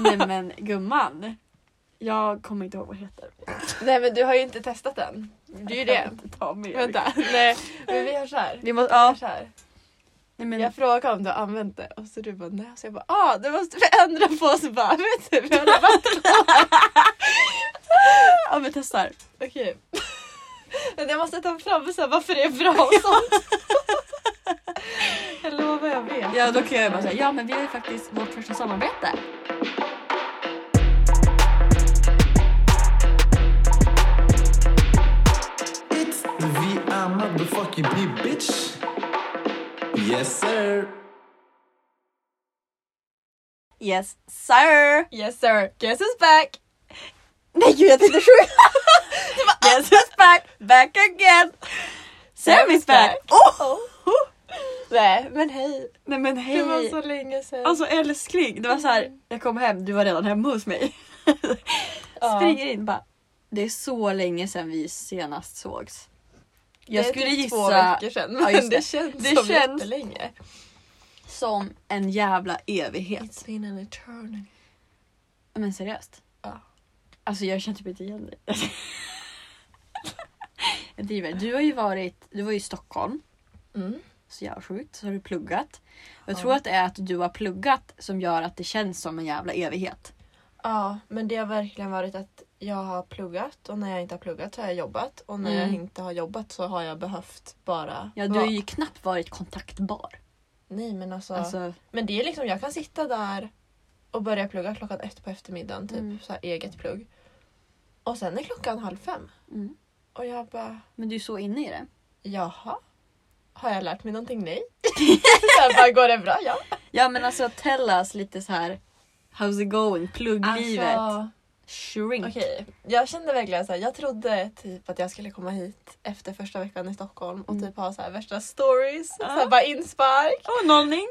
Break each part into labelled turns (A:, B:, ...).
A: Nej men gumman. Jag kommer inte ihåg vad det heter.
B: Nej men du har ju inte testat den. Det är ju
A: Jag
B: det.
A: kan inte ta med.
B: Vänta. Nej men vi gör så här.
A: Vi måste,
B: Vi gör
A: ja.
B: så här.
A: Nej, men,
B: Jag frågade om du har använt det och så du bara nej. Så jag bara ah det måste vi ändra på. Och så bara vet du vi har redan varit
A: ja men testa här.
B: Okej. Men jag måste ta fram så här, varför det är bra och sånt. jag lovar jag vet.
A: Ja då kan jag bara säga ja men vi har ju faktiskt vårt första samarbete.
C: It's the VR motherfucking P, bitch. Yes, sir.
A: Yes sir!
B: Yes sir, guess who's back!
A: Nej gud jag tänkte sjukt! yes it's back, back again! Sam is back! Oh!
B: Nej men hej.
A: Nej men hej!
B: Det var så länge sedan.
A: Alltså älskling, det var så här, jag kom hem, du var redan hemma hos mig.
B: Ja.
A: Springer in bara. Det är så länge sedan vi senast sågs. Jag
B: det är
A: skulle
B: typ
A: gissa
B: två veckor sedan men
A: Ja, just
B: det.
A: det.
B: känns
A: Det
B: som
A: känns-
B: jättelänge.
A: som en jävla evighet.
B: been an eternity.
A: Men seriöst.
B: Ja.
A: Alltså jag känner typ inte igen dig. jag driver. Du har ju varit, du var ju i Stockholm.
B: Mm.
A: Så jävla sjukt. Så har du pluggat. Jag
B: Ja.
A: tror att det är att du har pluggat som gör att det känns som en jävla evighet.
B: Ja men det har verkligen varit att jag har pluggat och när jag inte har pluggat så har jag jobbat och när jag
A: Mm.
B: inte har jobbat så har jag behövt bara
A: Ja, du
B: vara.
A: har ju knappt varit kontaktbar.
B: Nej men alltså,
A: Alltså,
B: Men det är liksom, jag kan sitta där och börja plugga klockan ett på eftermiddagen, typ
A: Mm.
B: så här eget plugg. Och sen är klockan halv fem
A: mm.
B: och jag bara
A: Men du är så inne i det.
B: jaha, har jag lärt mig någonting? Nej. sen bara går det bra? Ja.
A: Ja men alltså tell us lite så här How's it going? Plugglivet?
B: Alltså,
A: Shrink.
B: Okej, jag kände verkligen så här, jag trodde typ att jag skulle komma hit efter första veckan i Stockholm och
A: Mm.
B: typ ha så här värsta stories, så här
A: Ja.
B: bara inspark.
A: Oh, nollning.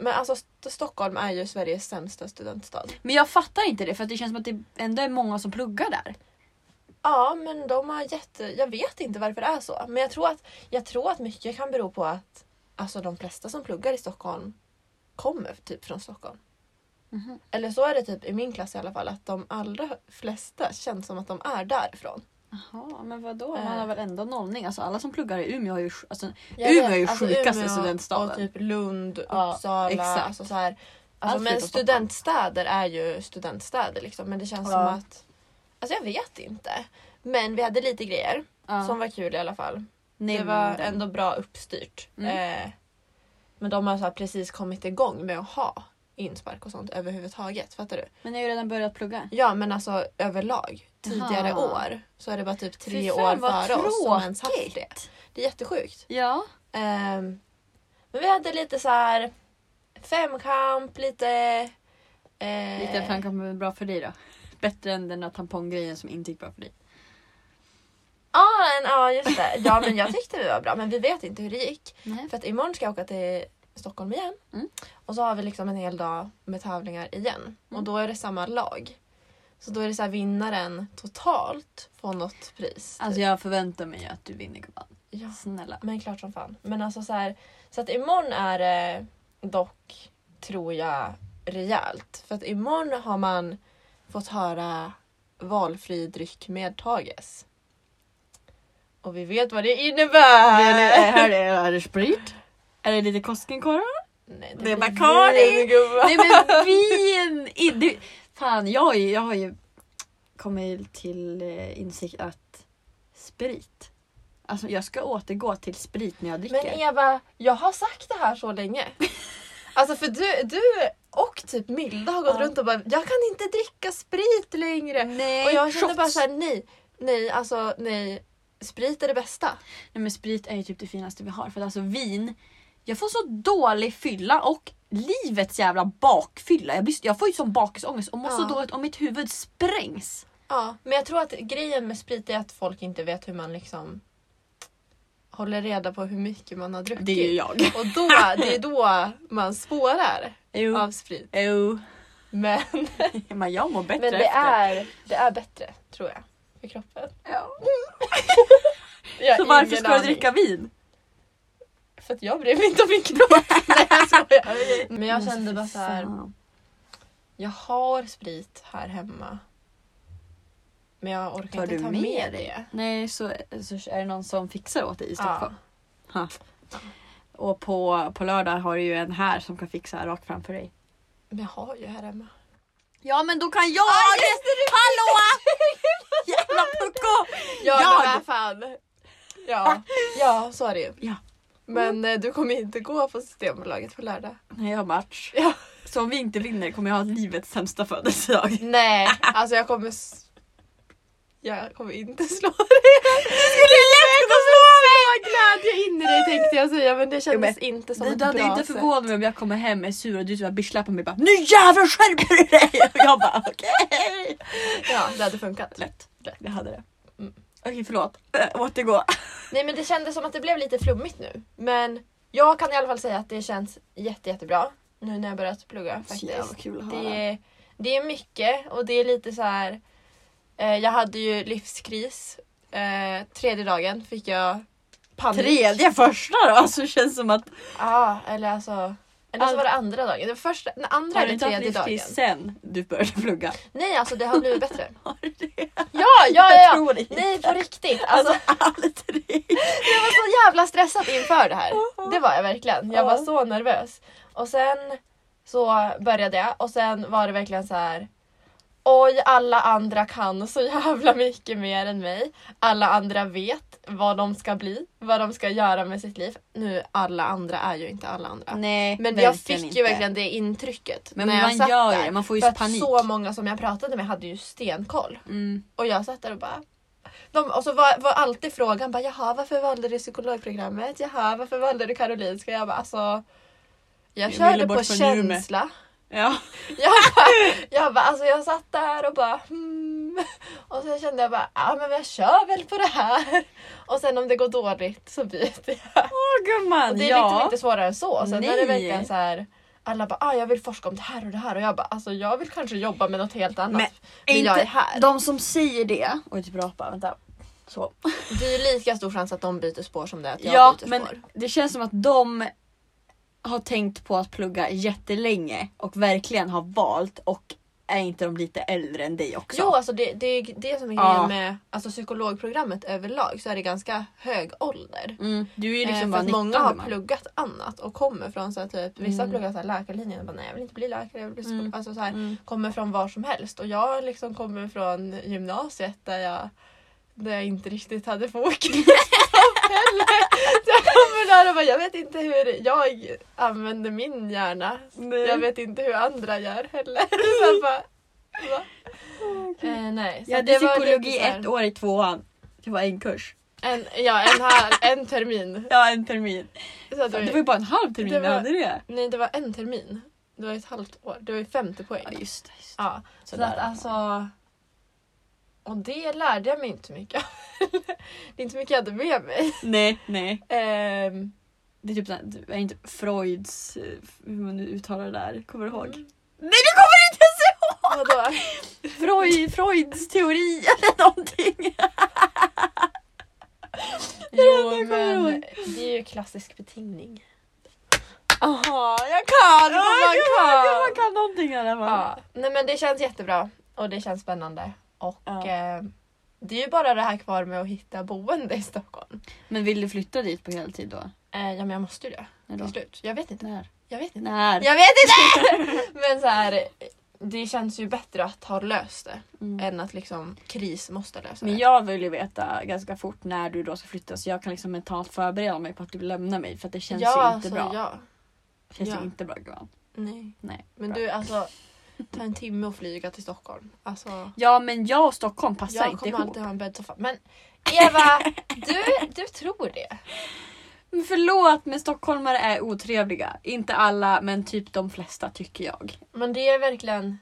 B: Men alltså St- Stockholm är ju Sveriges sämsta studentstad.
A: Men jag fattar inte det för att det känns som att det ändå är många som pluggar där.
B: Ja, men de har jätte... Jag vet inte varför det är så. Men jag tror att, jag tror att mycket kan bero på att alltså, de flesta som pluggar i Stockholm kommer typ från Stockholm.
A: Mhm.
B: Eller så är det typ i min klass i alla fall att de allra flesta känns som att de är därifrån.
A: Jaha, men vadå?
B: Eh.
A: Man har väl ändå nollning? Alltså alla som pluggar i Umeå har ju... sj- Alltså,
B: Jag
A: Umeå
B: vet,
A: är ju sjukaste
B: Umeå
A: studentstaden.
B: Och typ Lund,
A: Ja,
B: Uppsala.
A: exakt.
B: Alltså, så här,
A: Allt
B: alltså, men
A: förutom Stockholm.
B: studentstäder är ju studentstäder liksom. Men det känns
A: Ja.
B: som att... Alltså jag vet inte. Men vi hade lite grejer
A: ja.
B: som var kul i alla fall.
A: Nej,
B: det var
A: men-
B: ändå bra uppstyrt.
A: Mm.
B: Eh, men de har så här precis kommit igång med att ha inspark och sånt överhuvudtaget. Fattar du?
A: Men jag har ju redan börjat plugga.
B: Ja men alltså överlag. Tidigare
A: Jaha.
B: år så är det bara typ
A: Fy
B: tre
A: fan,
B: år
A: vad
B: före oss som ens haft det.
A: tråkigt.
B: Det är jättesjukt.
A: Ja.
B: Ehm, men vi hade lite så här femkamp, lite... eh,
A: Lite framkamp men bra för dig då. Bättre än den där tamponggrejen som inte gick bra för dig.
B: Ja, en- ja just det. Ja men jag tyckte vi var bra men vi vet inte hur det gick.
A: Nej.
B: För att imorgon ska jag åka till Stockholm igen.
A: Mm.
B: Och så har vi liksom en hel dag med tävlingar igen.
A: Mm.
B: Och då är det samma lag. Så då är det så här vinnaren totalt får något pris. typ.
A: Alltså jag förväntar mig att du vinner gumman.
B: ja.
A: Snälla.
B: Men klart som fan. Men alltså så här, så att imorgon är det dock, tror jag, rejält. För att imorgon har man fått höra valfri dryck medtages. Och vi vet vad det innebär!
A: här är, är det sprit? Eh. Är det lite Koskenkorva?
B: Nej,
A: Det är
B: blir
A: Bacardi.
B: vin, gubbar.
A: Nej men vin! I, det, fan jag, har ju- jag har ju kommit till eh, insikt att sprit. Alltså jag ska återgå till sprit när jag dricker.
B: Men Eva, jag har sagt det här så länge. Alltså för du, du och typ Milda har gått
A: Ja.
B: runt och bara jag kan inte dricka sprit längre.
A: nej,
B: och jag kände
A: shots.
B: bara såhär nej, nej alltså nej. Sprit är det bästa.
A: Nej men sprit är ju typ det finaste vi har för att alltså vin, jag får så dålig fylla och livets jävla bakfylla. Jag, blir, jag får ju som bakisångest och mår
B: Ja.
A: så dåligt och mitt huvud sprängs.
B: Ja, men jag tror att grejen med sprit är att folk inte vet hur man liksom håller reda på hur mycket man har druckit.
A: Det är ju jag.
B: Och då, det är då man spårar
A: Jo.
B: av sprit.
A: Jo.
B: Men,
A: Men jag mår bättre
B: men det,
A: efter.
B: är, det är bättre tror jag för kroppen.
A: Ja.
B: Jag har
A: Så varför
B: ingen
A: ska du
B: aning.
A: dricka vin? Alltså,
B: För
A: Mm.
B: att jag bryr mig inte om min kropp. Nej jag skojar. Men jag kände bara så här.
A: Fan.
B: Jag har sprit här hemma. Men jag orkar
A: Tar
B: inte
A: du
B: ta
A: med
B: med,
A: dig?
B: det.
A: Nej, så, så är det någon som fixar åt dig i
B: Ja.
A: Stockholm. Ha. Och på, på lördag har du ju en här som kan fixa rakt framför dig.
B: Men jag har ju här hemma.
A: Ja, men då kan jag! Ah, just det, Hallå! Jävla pucko!
B: Ja,
A: Jag?
B: men vad fan. Ja, Ah. ja så är det ju.
A: Ja.
B: Men eh, du kommer inte gå på Systembolaget på lördag.
A: Nej, jag har match.
B: Ja.
A: Så om vi inte vinner kommer jag ha livets sämsta födelsedag.
B: Nej, alltså jag kommer... s- Jag kommer inte slå
A: Skulle lätt kunna slå mig!
B: glädje in i dig tänkte jag säga men det
A: Jo,
B: kändes
A: men
B: inte som
A: Du, du
B: ett bra
A: hade inte
B: sätt.
A: förvånat mig om jag kommer hem är sur och du typ bisslapar mig bara Nu jävlar skärper du dig! Och jag bara okej.
B: Ja, det hade funkat.
A: Lätt.
B: Lätt.
A: Jag hade det.
B: Mm.
A: Okej förlåt. Äh, återgå.
B: Nej men det kändes som att det blev lite flummigt nu. Men jag kan i alla fall säga att det känns jätte, jättebra nu när jag börjat plugga faktiskt.
A: kul att
B: Det är, det är mycket och det är lite så här. Eh, jag hade ju livskris. Eh, tredje dagen fick jag panik.
A: Tredje första då? Alltså det känns som att
B: Ja, eller alltså. Eller så
A: Allt.
B: var det andra dagen. Den första, den andra
A: har du
B: eller
A: inte haft
B: tredje dagen.
A: livskris sen du började plugga?
B: Nej alltså det har blivit bättre.
A: Har du det?
B: Ja, ja, ja.
A: Jag
B: ja.
A: tror inte.
B: Nej på riktigt. Alltså,
A: Alltså alla tre.
B: Jag var så jävla stressad inför det här. Det var jag verkligen. Jag var
A: Ja.
B: så nervös. Och sen så började jag och sen var det verkligen så här. Oj, alla andra kan så jävla mycket mer än mig. Alla andra vet vad de ska bli, vad de ska göra med sitt liv. Nu, alla andra är ju inte alla andra.
A: Nej
B: Men
A: verkligen
B: jag fick
A: inte.
B: ju verkligen det intrycket
A: Men
B: när jag
A: man
B: satt
A: gör ju
B: där.
A: det, man får ju
B: För att
A: panik.
B: så många som jag pratade med hade ju stenkoll.
A: Mm.
B: Och jag satt där och bara... De, och så var, var alltid frågan bara, jaha varför valde du psykologprogrammet? Jaha varför valde du Karolinska? Jag bara alltså... Jag
A: Vi
B: körde
A: ville
B: på
A: bort från Umeå.
B: känsla.
A: Ja.
B: Jag, bara- jag bara alltså jag satt där och bara hmm. Och sen kände jag bara, ja men jag kör väl på det här. Och sen om det går dåligt så byter jag.
A: Åh gumman.
B: Och det är
A: ja.
B: liksom inte svårare än så. Sen är det
A: Nej.
B: verkligen så här... Alla bara, ah, jag vill forska om det här och det här och jag bara, alltså jag vill kanske jobba med något helt annat.
A: Men
B: Men jag
A: inte-
B: är här.
A: De som säger det. Oj typ rapa, vänta. Så.
B: Det är ju lika stor chans att de byter spår som det är att jag
A: Ja,
B: byter
A: men
B: spår.
A: det känns som att de har tänkt på att plugga jättelänge och verkligen har valt och är inte de lite äldre än dig också?
B: Jo, alltså det, det är ju det som är
A: Ja.
B: grejen med alltså, psykologprogrammet överlag så är det ganska hög ålder.
A: Mm, du är ju
B: Eh,
A: liksom
B: för
A: bara
B: att
A: 19
B: många har
A: gumman.
B: pluggat annat och kommer från så här, typ, vissa har
A: Mm.
B: pluggat så här, läkarlinjen och bara nej jag vill inte bli läkare, jag vill bli psykolog.
A: Mm.
B: Alltså, så här,
A: Mm.
B: kommer från var som helst och jag liksom kommer från gymnasiet där jag, där jag inte riktigt hade fokus på heller. Så jag kommer där och bara jag vet inte hur jag använder min hjärna
A: Nej.
B: Jag vet inte hur andra gör heller. Så jag bara, va? Eh, nej. Så
A: Jag hade
B: det var
A: psykologi
B: lite så här-
A: ett år i tvåan. Det var en kurs.
B: En, ja, en, här, en termin.
A: Ja, en termin.
B: Så att
A: Det
B: det
A: var
B: var,
A: ju bara en halv termin
B: Det
A: vi
B: var-
A: hade det.
B: nej, det var en termin. Det var ett halvt år. Det var ju 50
A: Ja,
B: poäng.
A: just det. Just. det.
B: Ja, så,
A: Sådär.
B: att alltså... Och det lärde jag mig inte mycket av. Det är inte mycket jag hade med mig.
A: Nej, nej.
B: Ehm,
A: Det är typ såhär, det är inte Freuds, eh, hur man nu uttalar det där, kommer du ihåg?
B: Mm.
A: Nej du kommer inte ens ihåg!
B: vadå?
A: Freud, Freuds teori eller någonting.
B: Jo,
A: jag kommer
B: men
A: ihåg.
B: det är ju klassisk betingning. Aha, jag kan!
A: Ja,
B: jag
A: gumman,
B: kan.
A: gumman kan någonting i alla fall.
B: Ja, nej men det känns jättebra och det känns spännande. Och
A: Ja.
B: eh, det är ju bara det här kvar med att hitta boende i Stockholm.
A: Men vill du flytta dit på heltid då?
B: Eh, ja men jag måste ju det
A: När då?
B: till slut. Jag vet inte.
A: När?
B: Jag vet inte.
A: När?
B: Jag vet inte! men så här, det känns ju bättre att ha löst det
A: Mm.
B: än att liksom kris måste lösa det.
A: Men jag vill ju veta ganska fort när du då ska flytta så jag kan liksom mentalt förbereda mig på att du lämnar mig för att det känns ju inte bra.
B: Ja.
A: Det känns
B: ja.
A: ju inte bra gumman.
B: Nej.
A: Nej.
B: Men
A: bra.
B: du alltså, ta en timme och flyga till Stockholm. Alltså,
A: Ja men jag och Stockholm passar
B: jag
A: inte
B: kommer
A: ihop.
B: alltid ha en bäddsoffa. Men Eva, du, du tror det.
A: Men förlåt men stockholmare är otrevliga. Inte alla men typ de flesta tycker jag.
B: Men det är verkligen...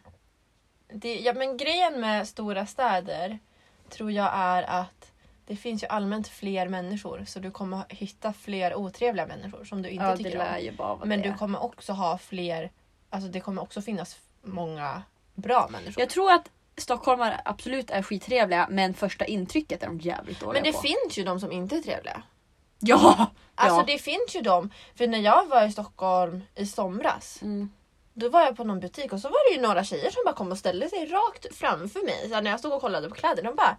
B: Det, ja, men grejen med stora städer tror jag är att det finns ju allmänt fler människor så du kommer hitta fler otrevliga människor som du inte
A: ja, det
B: tycker
A: lär
B: om.
A: ju bara vara
B: Men
A: det.
B: du kommer också ha fler... Alltså det kommer också finnas många bra människor.
A: Jag tror att stockholmare absolut är skittrevliga men första intrycket är de jävligt dåliga
B: Men det
A: på.
B: finns ju de som inte är trevliga.
A: Ja!
B: Alltså
A: ja.
B: det finns ju de. För när jag var i Stockholm i somras
A: Mm.
B: Då var jag på någon butik och så var det ju några tjejer som bara kom och ställde sig rakt framför mig. Så här, när jag stod och kollade på kläder, de bara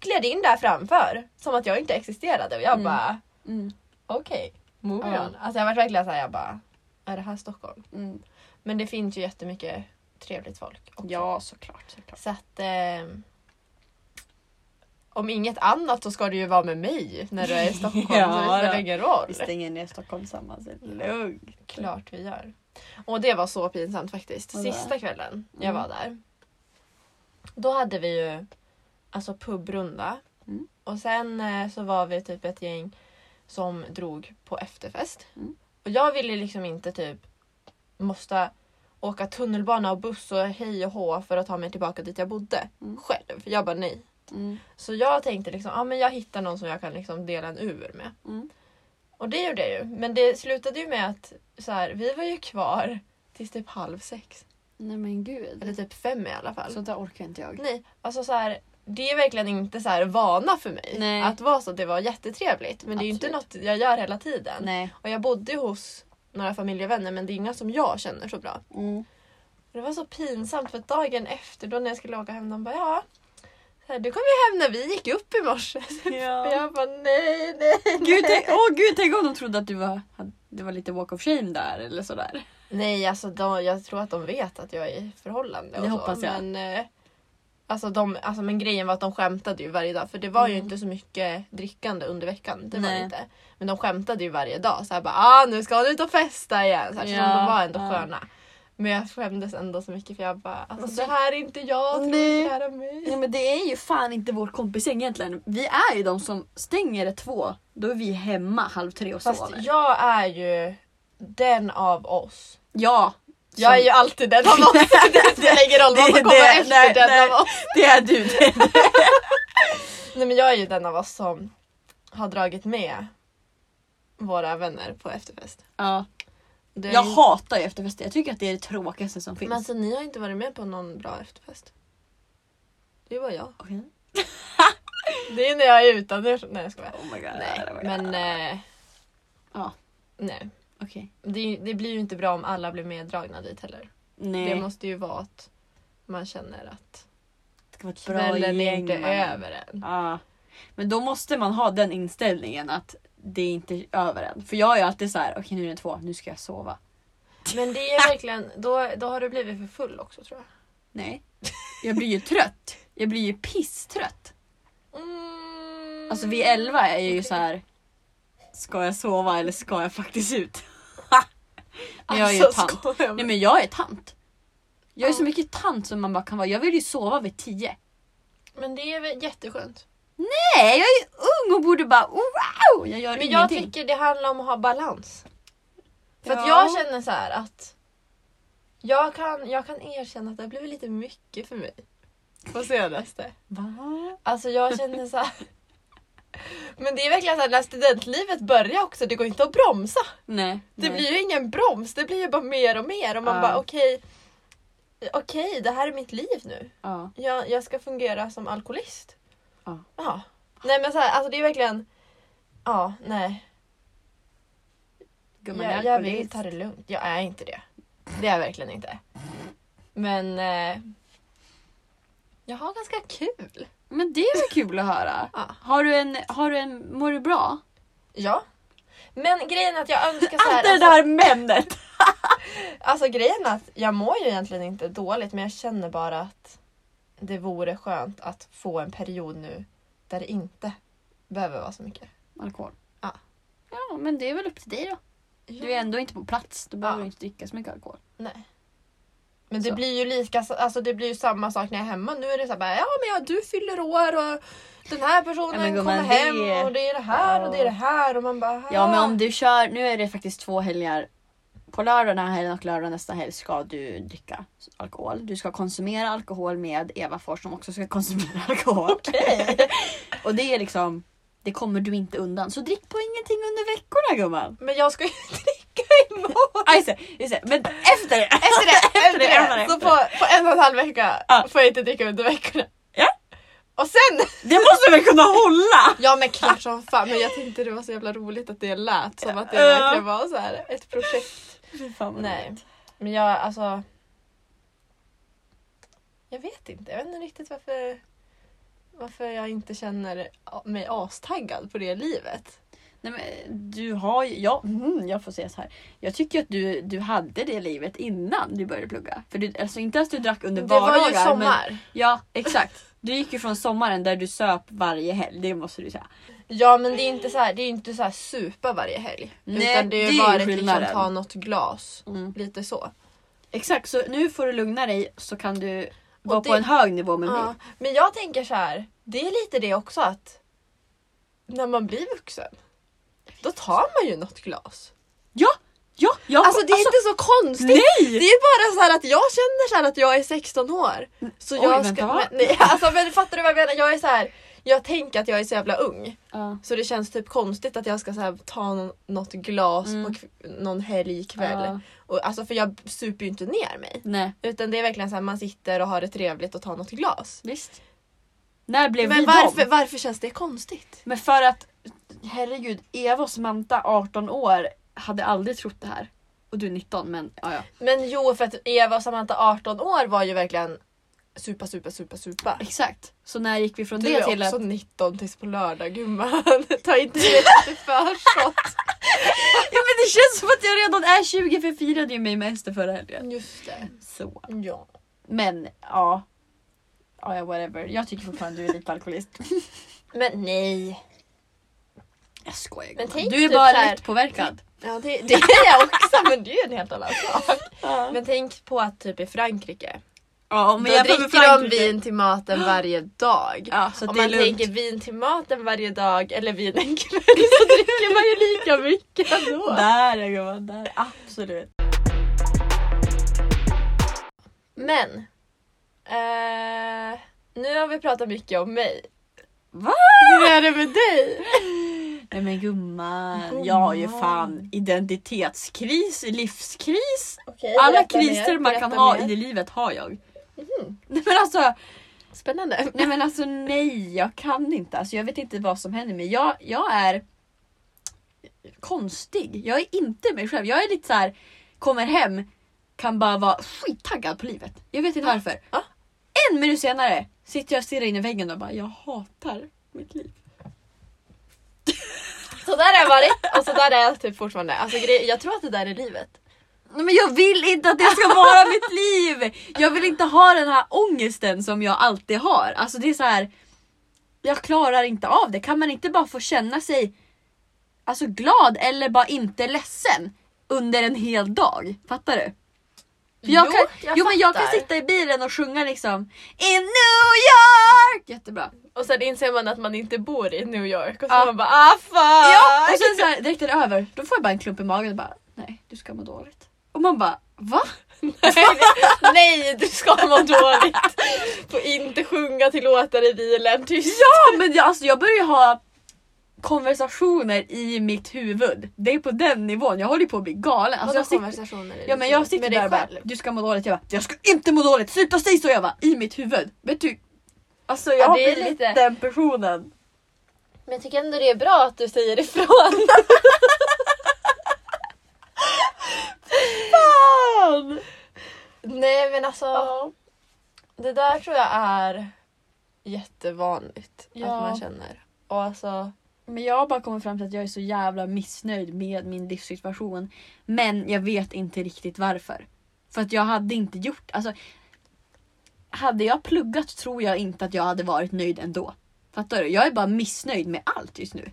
B: gled in där framför. Som att jag inte existerade. Och jag
A: Mm.
B: bara
A: Mm.
B: okej, moving
A: Ja.
B: on. Alltså jag var verkligen såhär, jag bara är det här Stockholm?
A: Mm.
B: Men det finns ju jättemycket trevligt folk också.
A: Ja, såklart. såklart.
B: Så att ehm, om inget annat så ska det ju vara med mig när du är i Stockholm.
A: Ja,
B: så det spelar
A: då.
B: ingen roll.
A: Vi stänger ner Stockholm tillsammans. Det är Lugnt.
B: Klart vi gör. Och det var så pinsamt faktiskt.
A: Vadå?
B: Sista kvällen jag
A: Mm.
B: var där. Då hade vi ju alltså pubrunda.
A: Mm.
B: Och sen eh, så var vi typ ett gäng som drog på efterfest.
A: Mm.
B: Och jag ville liksom inte typ måste åka tunnelbana och buss och hej och hå för att ta mig tillbaka dit jag bodde
A: Mm.
B: själv. Jag bara nej.
A: Mm.
B: Så jag tänkte liksom, ah, men jag hittar någon som jag kan liksom dela en ur med.
A: Mm.
B: Och det gjorde jag ju. Men det slutade ju med att så här, vi var ju kvar tills typ halv sex.
A: Nej men gud.
B: Eller typ fem i alla fall.
A: Så där orkar inte jag.
B: Nej, alltså så här, det är verkligen inte så här vana för mig
A: Nej.
B: att vara så. Det var jättetrevligt. Men det är ju inte något jag gör hela tiden.
A: Nej.
B: Och jag bodde hos några familjevänner men det är inga som jag känner så bra.
A: Mm.
B: Det var så pinsamt för att dagen efter då när jag skulle åka hem de bara ja. Så här, du kom ju hem när vi gick upp i morse. Och
A: Ja.
B: jag bara nej, nej.
A: Gud, tänk, åh, gud, tänk om de trodde att du var, hade- det var lite walk of shame där eller sådär.
B: Nej, alltså de, jag tror att de vet att jag är i förhållande. och
A: Det
B: så,
A: hoppas jag.
B: Men, eh, alltså de, alltså, men grejen var att de skämtade ju varje dag. För det var ju
A: Mm.
B: inte så mycket drickande under veckan. Det var
A: Nej.
B: det inte. Men de skämtade ju varje dag. Så här bara, ah, nu ska du ut och festa igen. Så, här, så
A: Ja,
B: de var ändå
A: ja.
B: sköna. Men jag skämdes ändå så mycket för jag bara, alltså,
A: Alltså,
B: det här är inte jag,
A: nej.
B: tro kära mig.
A: Nej men det är ju fan inte vårt kompisgäng egentligen. Vi är ju de som stänger två. Då är vi hemma halv tre och
B: Fast
A: sover.
B: jag är ju den av oss.
A: Ja.
B: Jag är ju alltid den av oss. Det spelar ingen roll vad
A: Det-
B: som kommer
A: det-
B: efter
A: nej,
B: den
A: nej.
B: av oss.
A: Det är du. Det är du.
B: Nej men jag är ju den av oss som har dragit med våra vänner på efterfest.
A: Ja.
B: Det är
A: Jag
B: ju-
A: hatar ju efterfester. Jag tycker att det är det tråkigaste som
B: Men
A: finns.
B: alltså ni har inte varit med på någon bra efterfest. Det var jag.
A: Okej.
B: Det är när jag är utan er. Nej jag skojar.
A: Oh my god.
B: Nej
A: oh my god.
B: men... Eh,
A: Ja.
B: Nej.
A: Okej.
B: Det, det blir ju inte bra om alla blir meddragna dit heller.
A: Nej.
B: Det måste ju vara att man känner att
A: ska vara ett
B: kvällen är inte
A: mannen.
B: över än.
A: Ja. Men då måste man ha den inställningen att det är inte över än. För jag är ju alltid så här, okej nu är det två, nu ska jag sova.
B: Men det är verkligen, då, då har du blivit för full också tror jag.
A: Nej. Jag blir ju trött. Jag blir ju pisstrött.
B: Mm.
A: Alltså vid elva är jag ju
B: Okej.
A: så här. Ska jag sova eller ska jag faktiskt ut? Men jag är ju
B: Alltså,
A: tant.
B: skojar jag
A: Nej men jag är tant. Jag är
B: Ja.
A: så mycket tant som man bara kan vara. Jag vill ju sova vid tio.
B: Men det är väl jätteskönt.
A: Nej, jag är ju ung och borde bara wow! Jag gör
B: Men jag
A: ingenting.
B: tycker det handlar om att ha balans. För att
A: Ja.
B: jag känner så här att jag kan, jag kan erkänna att det har blivit lite mycket för mig på senaste.
A: Va?
B: Alltså jag känner så här. Men det är verkligen så här, när studentlivet börjar också, det går inte att bromsa.
A: Nej.
B: Det
A: nej.
B: blir ju ingen broms, det blir ju bara mer och mer och man
A: Ja.
B: bara okej, okej det här är mitt liv nu.
A: Ja.
B: jag, jag ska fungera som alkoholist.
A: Ja.
B: Ja. Nej men så här, alltså det är verkligen... Ja, nej.
A: Gumman
B: jag,
A: är
B: jag vill
A: alkoholist.
B: ta det lugnt. Jag är inte det. Det är jag verkligen inte. Men... Eh, jag har ganska kul.
A: Men det är väl kul att höra.
B: Ja.
A: Har du en, har du en, mår du bra?
B: Ja. Men grejen är att jag önskar så
A: Allt det
B: här, alltså,
A: där männet!
B: alltså grejen är att jag mår ju egentligen inte dåligt men jag känner bara att det vore skönt att få en period nu där det inte behöver vara så mycket.
A: Alkohol.
B: Ja.
A: Ja, men det är väl upp till dig då. Du är ändå inte på plats, då behöver
B: Ja.
A: du inte dricka så mycket alkohol.
B: Nej. Men det
A: Så.
B: blir ju lika, alltså det blir ju samma sak när jag är hemma. Nu är det så här bara, ja men ja, du fyller år och den här personen
A: Ja, men
B: kommer
A: gumman,
B: hem
A: det-
B: och det är det här och det är det här och man bara
A: Ja, men om du kör, nu är det faktiskt två helger. På lördag den här helgen och lördag nästa helg ska du dricka alkohol. Du ska konsumera alkohol med Eva Fors som också ska konsumera alkohol.
B: Okej.
A: och det är liksom, det kommer du inte undan. Så drick på ingenting under veckorna gumman.
B: Men jag ska ju dricka imorgon.
A: Ah, just det, just det. Men efter det!
B: Efter det, efter
A: det, efter
B: det.
A: det.
B: Så på, på en och en halv vecka
A: Ja.
B: får jag inte dricka under veckorna.
A: Ja.
B: Och sen,
A: Det måste väl kunna hålla?
B: ja men klart som fan. Men jag tyckte det var så jävla roligt att det lät som att det
A: Ja.
B: verkligen var så här ett projekt.
A: Fan,
B: Nej. Men jag, alltså... Jag vet inte. Jag vet inte riktigt varför, varför jag inte känner a- mig astaggad på det livet.
A: Nej, men du har ju, ja, mm, jag får säga så här. Jag tycker att du, du hade det livet innan du började plugga. För du, alltså inte att du drack under
B: Det var ju
A: vardagar, men-
B: sommar.
A: Ja, exakt. Du gick ju från sommaren där du söp varje helg, det måste du säga.
B: Ja men det är inte så här, det är inte så här supa varje helg.
A: Nej,
B: utan det
A: det är
B: har
A: ju
B: ju varit liksom
A: skillnaden. Mm.
B: ta något glas. Lite så.
A: Exakt, så nu får du lugna dig så kan du vara
B: det-
A: på en hög nivå med
B: Ja,
A: mig.
B: men jag tänker så här, det är lite det också att när man blir vuxen då tar man ju något glas.
A: Ja, ja, ja.
B: Alltså det är inte så konstigt.
A: Nej!
B: Det är bara så här att jag känner så här att jag är 16 år. Så
A: Oj,
B: jag
A: vänta,
B: ska,
A: va?
B: men, nej, alltså, men fattar du vad jag menar? Jag är så här, jag tänker att jag är så jävla ung.
A: Ja.
B: Så det känns typ konstigt att jag ska så här, ta nå- något glas på kv- någon helg ikväll.
A: Ja.
B: Och, alltså, för jag super ju inte ner mig.
A: Nej,
B: Utan det är verkligen så här, man sitter och har det trevligt och tar något glas.
A: visst. När blev vi
B: Men varför,
A: dem?
B: varför känns det konstigt?
A: Men för att, herregud, Eva och Samantha, 18 år, hade aldrig trott det här. Och du är 19, men ja, ja.
B: Men jo, för att Eva och Samantha 18 år var ju verkligen supa, supa, supa, supa.
A: Exakt. Så när gick vi från
B: Du
A: det
B: är
A: till
B: också
A: att...
B: 19 tills på lördag gumman. Ta inte det till förskott.
A: Ja men det känns som att jag redan är 20 för jag firade ju mig med Ester förra helgen.
B: Just det.
A: Så.
B: Ja.
A: Men ja. Ja, ja, whatever. Jag tycker fortfarande du är lite alkoholist.
B: Men nej.
A: Jag skojar
B: Men
A: gumman.
B: tänk
A: Du är
B: typ så
A: bara
B: här-
A: lätt påverkad.
B: Ja, det, det är jag också men det är ju en helt annan sak. Men tänk på att typ i Frankrike.
A: Ja, om
B: Då
A: jag
B: dricker
A: dricker Frankrike.
B: de vin till maten varje dag.
A: Ja, så
B: Om
A: det är
B: man
A: lugnt.
B: tänker vin till maten varje dag eller vin en kväll så dricker man ju lika mycket ändå.
A: Där ja, gumman, där. Absolut.
B: Men. Eh, nu har vi pratat mycket om mig.
A: Va?
B: Hur är det med dig?
A: Nej men gumman,
B: Gumman.
A: jag har ju fan identitetskris, livskris.
B: Okej,
A: Alla
B: berätta
A: kriser
B: mer,
A: man
B: berätta
A: kan ha
B: mer. Mhm.
A: i livet har jag. Nej men alltså,
B: Spännande.
A: Nej men alltså nej, jag kan inte. Alltså, jag vet inte vad som händer mig. Jag, jag är konstig. Jag är inte mig själv. Jag är lite så här, kommer hem, kan bara vara skittaggad på livet. Jag vet inte varför.
B: ja.
A: En minut senare sitter jag och stirrar in i väggen och bara, jag hatar mitt liv.
B: Så där har jag varit och så där är jag typ fortfarande. Alltså, grej- jag tror att det där är livet.
A: Nej, men jag vill inte att det ska vara mitt liv! Jag vill inte ha den här ångesten som jag alltid har. Alltså det är så här. Jag klarar inte av det. Kan man inte bara få känna sig alltså, glad eller bara inte ledsen under en hel dag? Fattar du? För jag
B: Jo,
A: kan,
B: jag
A: jo men jag kan
B: fattar.
A: sitta i bilen och sjunga liksom In New York! Jättebra.
B: Och sen inser man att man inte bor i New York och så
A: Ja.
B: man bara ah fan!
A: Ja, och sen så här, direkt är det över. Då får jag bara en klump i magen och bara nej, du ska må dåligt. Och man bara va?
B: nej, nej du ska må dåligt. Får inte sjunga till låtar i bilen tyst.
A: Ja men jag, alltså, jag börjar ju ha konversationer i mitt huvud. Det är på den nivån. Jag håller ju på att bli galen. Alltså, jag sitter,
B: konversationer?
A: ja, men jag sitter där och bara, du ska må dåligt. Jag bara, jag ska inte må dåligt. Sluta säga så jag bara, i mitt huvud. Vet du? Alltså jag
B: Ja,
A: har
B: det är
A: blivit
B: lite-
A: den personen.
B: Men jag tycker ändå det är bra att du säger ifrån. nej men alltså. Det där tror jag är jättevanligt
A: Ja.
B: att man känner. Och alltså,
A: Men jag har bara kommit fram till att jag är så jävla missnöjd med min livssituation. Men jag vet inte riktigt varför. För att jag hade inte gjort... Alltså, hade jag pluggat tror jag inte att jag hade varit nöjd ändå. Fattar du? Jag är bara missnöjd med allt just nu.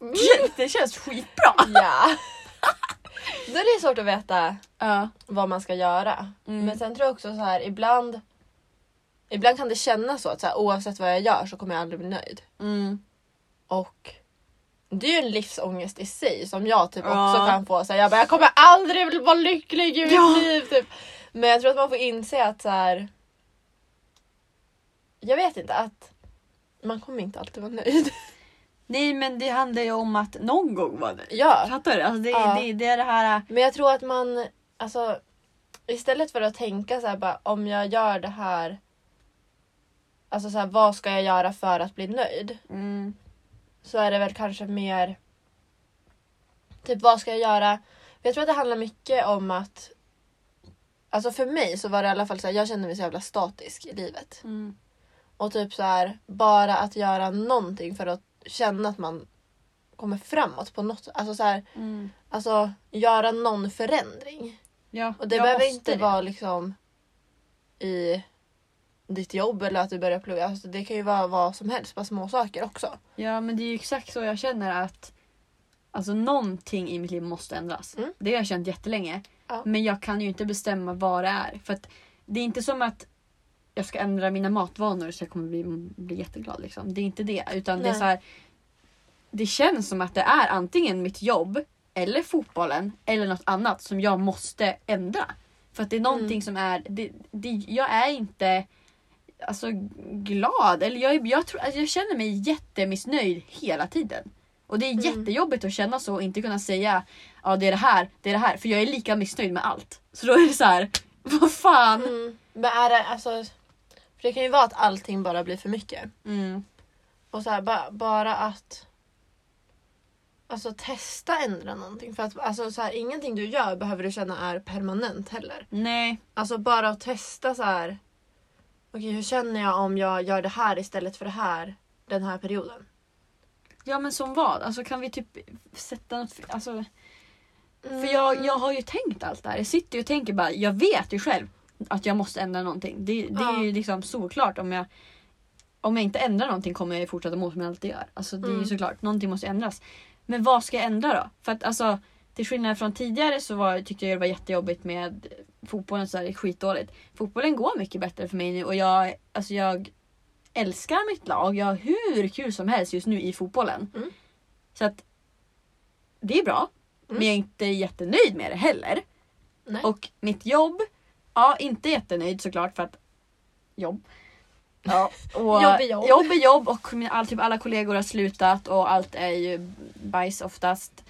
B: Mm.
A: Det känns skitbra!
B: ja. Då är det svårt att veta
A: Ja.
B: vad man ska göra.
A: Mm.
B: Men sen tror jag också så här ibland Ibland kan det kännas så att så här, oavsett vad jag gör så kommer jag aldrig bli nöjd.
A: Mm.
B: Och det är ju en livsångest i sig som jag typ
A: Ja.
B: också kan få. Så här, jag, bara, jag kommer aldrig vara lycklig i mitt
A: Ja.
B: liv. Typ. Men jag tror att man får inse att så här. Jag vet inte att man kommer inte alltid vara nöjd.
A: Nej men det handlar ju om att någon gång vara nöjd.
B: ja.
A: Fattar du? Alltså, det,
B: Ja.
A: det, det är det här...
B: Men jag tror att man alltså istället för att tänka så här bara om jag gör det här. Alltså så här, vad ska jag göra för att bli nöjd?
A: Mm.
B: så är det väl kanske mer typ vad ska jag göra? Jag tror att det handlar mycket om att Alltså för mig så var det i alla fall så här, jag kände mig så jävla statisk i livet.
A: Mm.
B: Och typ så här, bara att göra någonting för att känna att man kommer framåt på något Alltså så här,
A: Mm.
B: alltså göra någon förändring.
A: Ja,
B: Och det
A: jag
B: behöver
A: måste
B: inte
A: det.
B: vara liksom i ditt jobb eller att du börjar plugga. Alltså det kan ju vara vad som helst, bara små saker också.
A: Ja men det är ju exakt så jag känner att Alltså någonting i mitt liv måste ändras.
B: Mm.
A: Det har jag känt jättelänge.
B: Ja.
A: Men jag kan ju inte bestämma vad det är. För att det är inte som att jag ska ändra mina matvanor så jag kommer bli, bli jätteglad. Liksom. Det är inte det. Utan det är
B: Nej.
A: så här, Det känns som att det är antingen mitt jobb eller fotbollen eller något annat som jag måste ändra. För att det är någonting som är... Det, det, jag är inte alltså, glad. Eller jag, är- jag, tror, alltså, jag känner mig jättemissnöjd hela tiden. Och det är
B: Mm.
A: jättejobbigt att känna så och inte kunna säga ja det är det här, det är det här. För jag är lika missnöjd med allt. Så då är det så här, vad fan.
B: Mm. Men är det, alltså, för det kan ju vara att allting bara blir för mycket.
A: Mm.
B: Och så här, bara, bara att alltså, testa ändra någonting. För att alltså, så här, ingenting du gör behöver du känna är permanent heller.
A: Nej.
B: Alltså bara att testa så här. Okej, hur känner jag om jag gör det här istället för det här den här perioden?
A: Ja men som vad? Alltså kan vi typ sätta något... Alltså, för
B: Mm.
A: jag, jag har ju tänkt allt det här. Jag sitter ju och tänker bara, jag vet ju själv att jag måste ändra någonting. Det, det är
B: Ja.
A: ju liksom såklart om jag... Om jag inte ändrar någonting kommer jag ju fortsätta må som jag alltid gör. Alltså det är ju
B: Mm.
A: såklart, någonting måste ändras. Men vad ska jag ändra då? För att alltså till skillnad från tidigare så var, tyckte jag det var jättejobbigt med fotbollen så här, det är skitdåligt. Fotbollen går mycket bättre för mig nu och jag, alltså jag älskar mitt lag. Jag har hur kul som helst just nu i fotbollen.
B: Mm.
A: Så att det är bra.
B: Mm.
A: Men jag är inte jättenöjd med det heller.
B: Nej.
A: Och mitt jobb, ja inte jättenöjd såklart för att jobb. Ja, och
B: Jobb är jobb.
A: jobb är jobb och min- all, typ alla kollegor har slutat och allt är ju bajs oftast.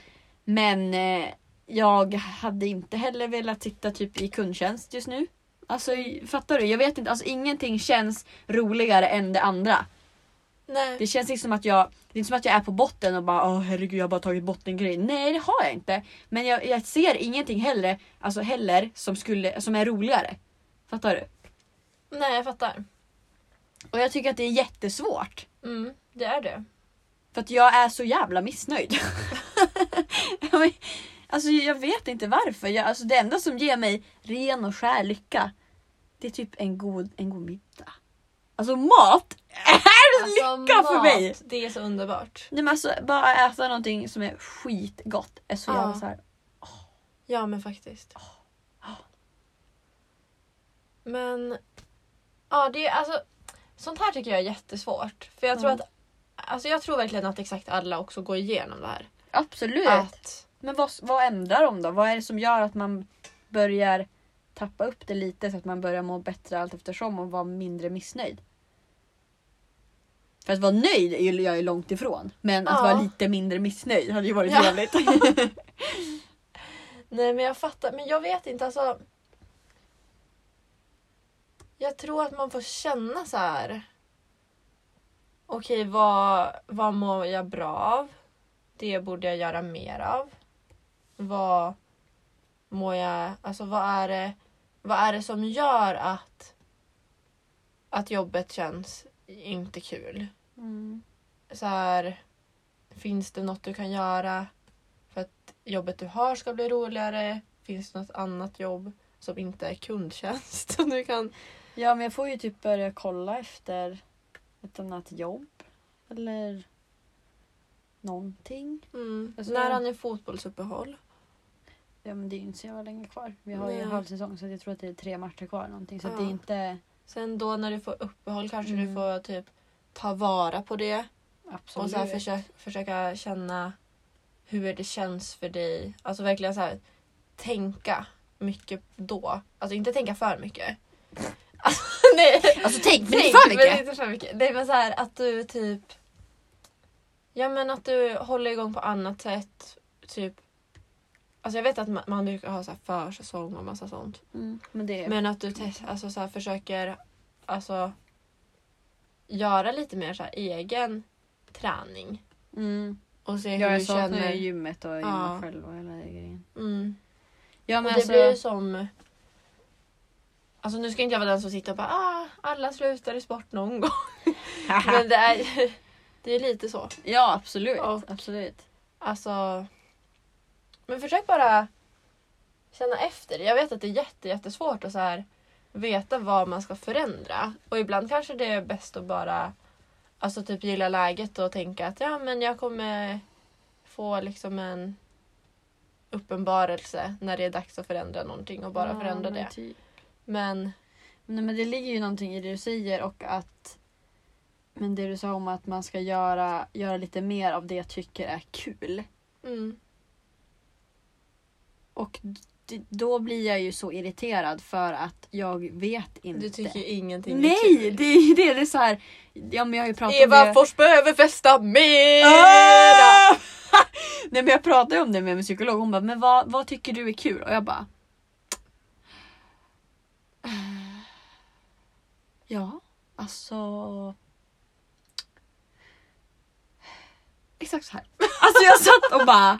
A: Men eh, jag hade inte heller velat sitta typ i kundtjänst just nu. Alltså fattar du? Jag vet inte, alltså ingenting känns roligare än det andra.
B: Nej.
A: Det känns inte som att jag, det är inte som att jag är på botten och bara Åh, herregud jag har bara tagit bottengrej. Nej det har jag inte. Men jag, jag ser ingenting heller, alltså heller som, skulle, som är roligare. Fattar du?
B: Nej, jag fattar.
A: Och jag tycker att det är jättesvårt.
B: Mm, det är det.
A: För att jag är så jävla missnöjd. Ja, men, alltså jag vet inte varför. Jag, alltså, det enda som ger mig ren och skär lycka det är typ en god, en god middag. Alltså mat!
B: Alltså,
A: Lycka för mig!
B: Det är så underbart.
A: Nej, men alltså, bara äta någonting som är skitgott. Är så jävla
B: Ja.
A: så här,
B: Ja, men faktiskt. Men... Ja, det är alltså... Sånt här tycker jag är jättesvårt. För jag tror
A: Mm.
B: att... Alltså jag tror verkligen att exakt alla också går igenom det här.
A: Absolut.
B: Att...
A: Men vad, vad ändrar de då? Vad är det som gör att man börjar tappa upp det lite så att man börjar må bättre allt eftersom och vara mindre missnöjd? För att vara nöjd är ju jag är långt ifrån. Men att
B: Ja.
A: vara lite mindre missnöjd hade ju varit
B: Ja.
A: trevligt.
B: Nej men jag fattar, men jag vet inte alltså. Jag tror att man får känna så här. Okej, vad, vad mår jag bra av? Det borde jag göra mer av. Vad mår jag, alltså vad är det, vad är det som gör att, att jobbet känns inte kul?
A: Mm.
B: så här, finns det något du kan göra för att jobbet du har ska bli roligare? Finns det något annat jobb som inte är kundtjänst som du kan...
A: Ja men jag får ju typ börja kolla efter ett annat jobb. Eller någonting.
B: Mm.
A: Alltså,
B: När
A: jag-
B: han är fotbollsuppehåll.
A: Ja men det är ju inte så jävla länge kvar. Vi har ju
B: Nej.
A: en halv säsong så jag tror att det är tre matcher kvar eller någonting. Så
B: Ja.
A: att det är inte...
B: Sen då när du får uppehåll kanske
A: Mm.
B: du får typ ta vara på det
A: Absolut.
B: och så här, försö- försöka känna hur det känns för dig. Alltså verkligen så här, tänka mycket då. Alltså inte tänka för mycket. Alltså, nej.
A: Alltså tänk, men
B: Nej,
A: det är för mycket.
B: Men inte för mycket. Nej men så här att du typ... Ja men att du håller igång på annat sätt. Typ... Alltså jag vet att man, man brukar ha så här försäsong och massa sånt.
A: Mm, men det är...
B: Men att du test, alltså så här, försöker alltså, göra lite mer så här, egen träning.
A: mm.
B: Och se hur
A: Jag
B: du
A: saknar
B: känner.
A: ju gymmet och gymma
B: Ja.
A: själv och hela den grejen.
B: Mm.
A: Ja alltså-
B: Och det
A: men alltså,
B: blir ju som Alltså nu ska inte jag vara den som sitter och bara ah, alla slutar i sport någon gång. Men det är ju det är lite så.
A: Ja absolut.
B: Och-
A: absolut.
B: Alltså. Men försök bara känna efter. Jag vet att det är jätte, jättesvårt att så här veta vad man ska förändra. Och ibland kanske det är bäst att bara alltså typ gilla läget och tänka att ja men jag kommer få liksom en uppenbarelse när det är dags att förändra någonting och bara
A: Ja,
B: förändra
A: men
B: det.
A: typ.
B: Men
A: Nej, men det ligger ju någonting i det du säger och att men det du sa om att man ska göra, göra lite mer av det jag tycker är kul.
B: mm,
A: Och d- då blir jag ju så irriterad för att jag vet inte.
B: du tycker ingenting är
A: Nej!
B: kul.
A: Det är ju det. Det är så här, ja, men jag har ju pratat om det.
B: Eva Fors behöver festa mera!
A: Ah! Nej men jag pratade ju om det med min psykolog. Hon bara, men vad, vad tycker du är kul? Och jag bara... "Ah, Ja, alltså... Exakt så här. Alltså jag satt och bara,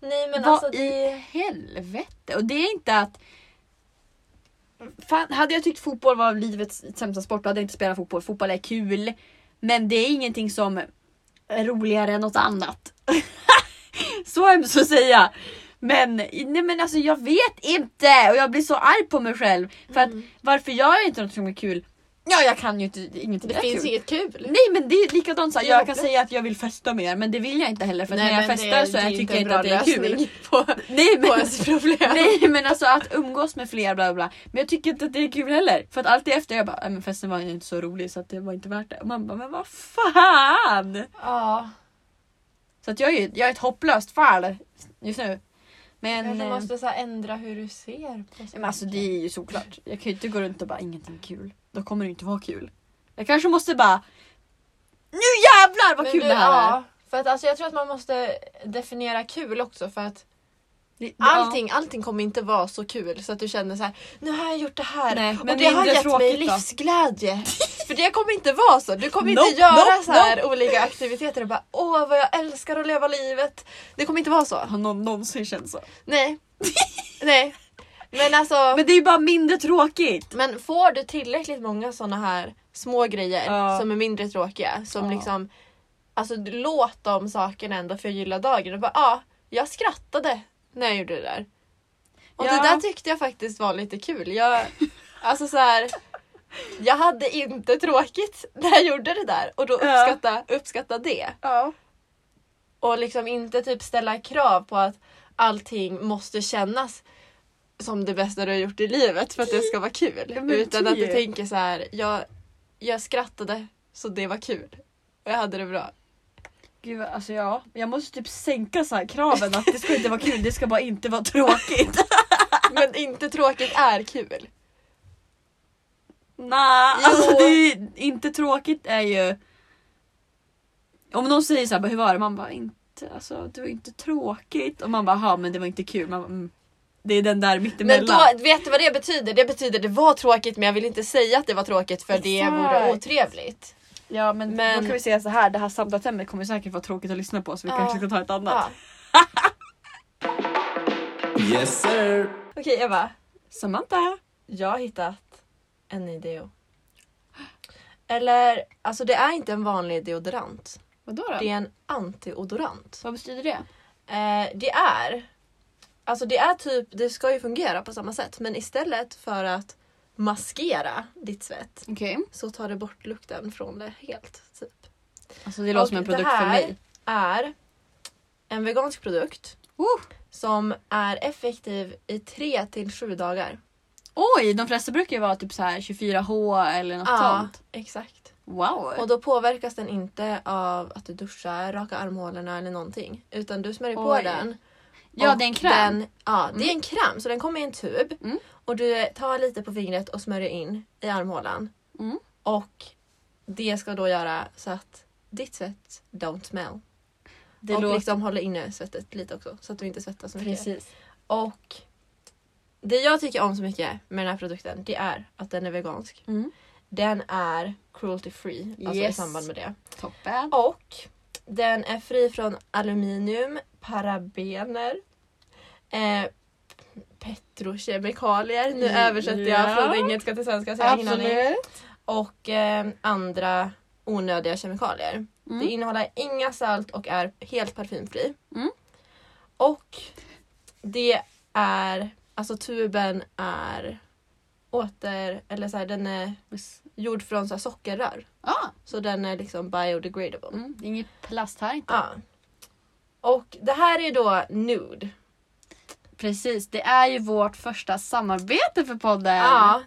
B: Nej men
A: vad
B: alltså
A: i
B: det...
A: helvete? Och det är inte att... Fan, hade jag tyckt fotboll var livets sämsta sport då hade jag inte spelat fotboll. Fotboll är kul. Men det är ingenting som är roligare än något annat. så hemskt att säga. Men, nej men alltså jag vet inte och jag blir så arg på mig själv. För att
B: Mm.
A: varför gör jag inte något som är kul? Ja jag kan ju inte, ingenting
B: Det
A: är
B: finns
A: kul.
B: inget kul.
A: Nej men det är likadant så här,
B: Det är
A: jag kan
B: hopplöst.
A: säga att jag vill festa mer men det vill jag inte heller för att
B: Nej,
A: när jag
B: men det-
A: festar så
B: det är
A: jag
B: inte
A: tycker
B: en
A: jag inte
B: bra
A: att det är kul.
B: lösning På,
A: Nej
B: på
A: men,
B: ens problem.
A: nej men alltså att umgås med fler bla bla bla. Men jag tycker inte att det är kul heller. För att alltid efter jag bara, "Nej, men festen var ju inte så rolig så att det var inte värt det. Och man bara, men vad fan!
B: Ja,
A: Så att jag är, ju- jag är ett hopplöst fall just nu. Men,
B: men, du
A: eh,
B: måste så här, ändra hur du ser på
A: men alltså det är ju såklart. Jag kan ju inte gå runt och bara ingenting är kul. Då kommer det inte vara kul. Jag kanske måste bara Nu jävlar vad
B: Men
A: kul
B: du-
A: det här är!
B: Ja, för att alltså, jag tror att man måste definiera kul också för att
A: Det-
B: allting, allting kommer inte vara så kul så att du känner så här nu har jag gjort det här
A: Nej,
B: och
A: men
B: det har
A: mindre
B: gett mig
A: tråkigt då."
B: livsglädje. för det kommer inte vara så. Du kommer
A: Nope,
B: inte göra
A: nope,
B: så här olika aktiviteter och bara åh vad jag älskar att leva livet. Det kommer inte vara så.
A: Har någon någonsin känt så?
B: Nej. Nej. Men alltså, men,
A: Men det är ju bara mindre tråkigt!
B: får du tillräckligt många såna här små grejer
A: Ja.
B: som är mindre tråkiga som
A: Ja.
B: liksom Alltså du- låt de sakerna ändå förgylla dagen och bara ja, ah, jag skrattade när jag gjorde det där. Och
A: Ja.
B: det där tyckte jag faktiskt var lite kul. Jag, alltså så här, jag hade inte tråkigt när jag gjorde det där och då
A: Ja.
B: uppskatta, uppskatta det.
A: Ja.
B: Och liksom inte typ ställa krav på att allting måste kännas som det bästa du har gjort i livet för att det ska vara kul.
A: Ja, men
B: Utan att du
A: typ.
B: tänker så här, jag, jag skrattade så det var kul. Och jag hade det bra.
A: Gud, vad- alltså ja. Jag måste typ sänka så här kraven att det ska inte vara kul, det ska bara inte vara tråkigt.
B: Men inte tråkigt är kul.
A: Nej,
B: Jo.
A: alltså det är, ju- inte tråkigt är ju... Om någon säger så här, "Bara, hur var det? Man bara, inte, alltså det var inte tråkigt. Och man bara, ja men det var inte kul. Man bara, mm. Det är den där
B: Men
A: mittemellan.
B: då, vet du vad det betyder? Det betyder det var tråkigt men jag vill inte säga att det var tråkigt för det
A: Exakt.
B: vore otrevligt.
A: ja men,
B: Men-
A: då kan vi säga så här, det här samtalsämnet kommer säkert vara tråkigt att lyssna på så vi
B: Ja.
A: kanske ska ta ett annat.
B: Ja.
C: Yes sir.
B: Okej Eva,
A: Samantha!
B: jag har hittat en ny deo. Eller, alltså det är inte en vanlig deodorant.
A: Vadå då?
B: Det är en antiodorant.
A: Vad betyder det?
B: Eh, det är... Alltså det är typ, det ska ju fungera på samma sätt men istället för att maskera ditt svett
A: Okej.
B: så tar det bort lukten från det helt. Typ.
A: Alltså det låter
B: Och
A: som en produkt
B: det
A: för
B: här
A: mig.
B: är en vegansk produkt
A: Oh,
B: som är effektiv i 3 till 7 dagar.
A: oj, de flesta brukar ju vara typ så här 24H eller något sånt.
B: exakt.
A: Wow!
B: Och då påverkas den inte av att du duschar, raka armhålorna eller någonting. Utan du smörjer
A: Oj.
B: på den
A: ja,
B: Och
A: det är en kräm.
B: Den, ja, det är en kräm. Så den kommer i en tub.
A: Mm.
B: Och du tar lite på fingret och smörjer in i armhålan.
A: Mm.
B: Och det ska då göra så att ditt svett don't smell.
A: Det
B: och
A: låter...
B: liksom håller inne svettet lite också. Så att du inte svettas så mycket.
A: Precis.
B: Och det jag tycker om så mycket med den här produkten det är att den är vegansk.
A: Mm.
B: Den är cruelty free. Alltså i
A: Yes.
B: samband med det.
A: Toppen.
B: Och den är fri från aluminium, parabener, eh, petrokemikalier. Nu
A: Ja.
B: översätter jag från engelska till svenska så jag har ingen aning. Och eh, andra onödiga kemikalier.
A: Mm.
B: Det innehåller inga salt och är helt parfymfri.
A: Mm.
B: Och det är, alltså tuben är åter, eller så här, den är gjord från så här sockerrör.
A: Ah,
B: Så den är liksom biodegradable.
A: mm, det är inget plast här inte.
B: Ja. Och det här är då nude.
A: Precis, det är ju vårt första samarbete för podden.
B: Ja.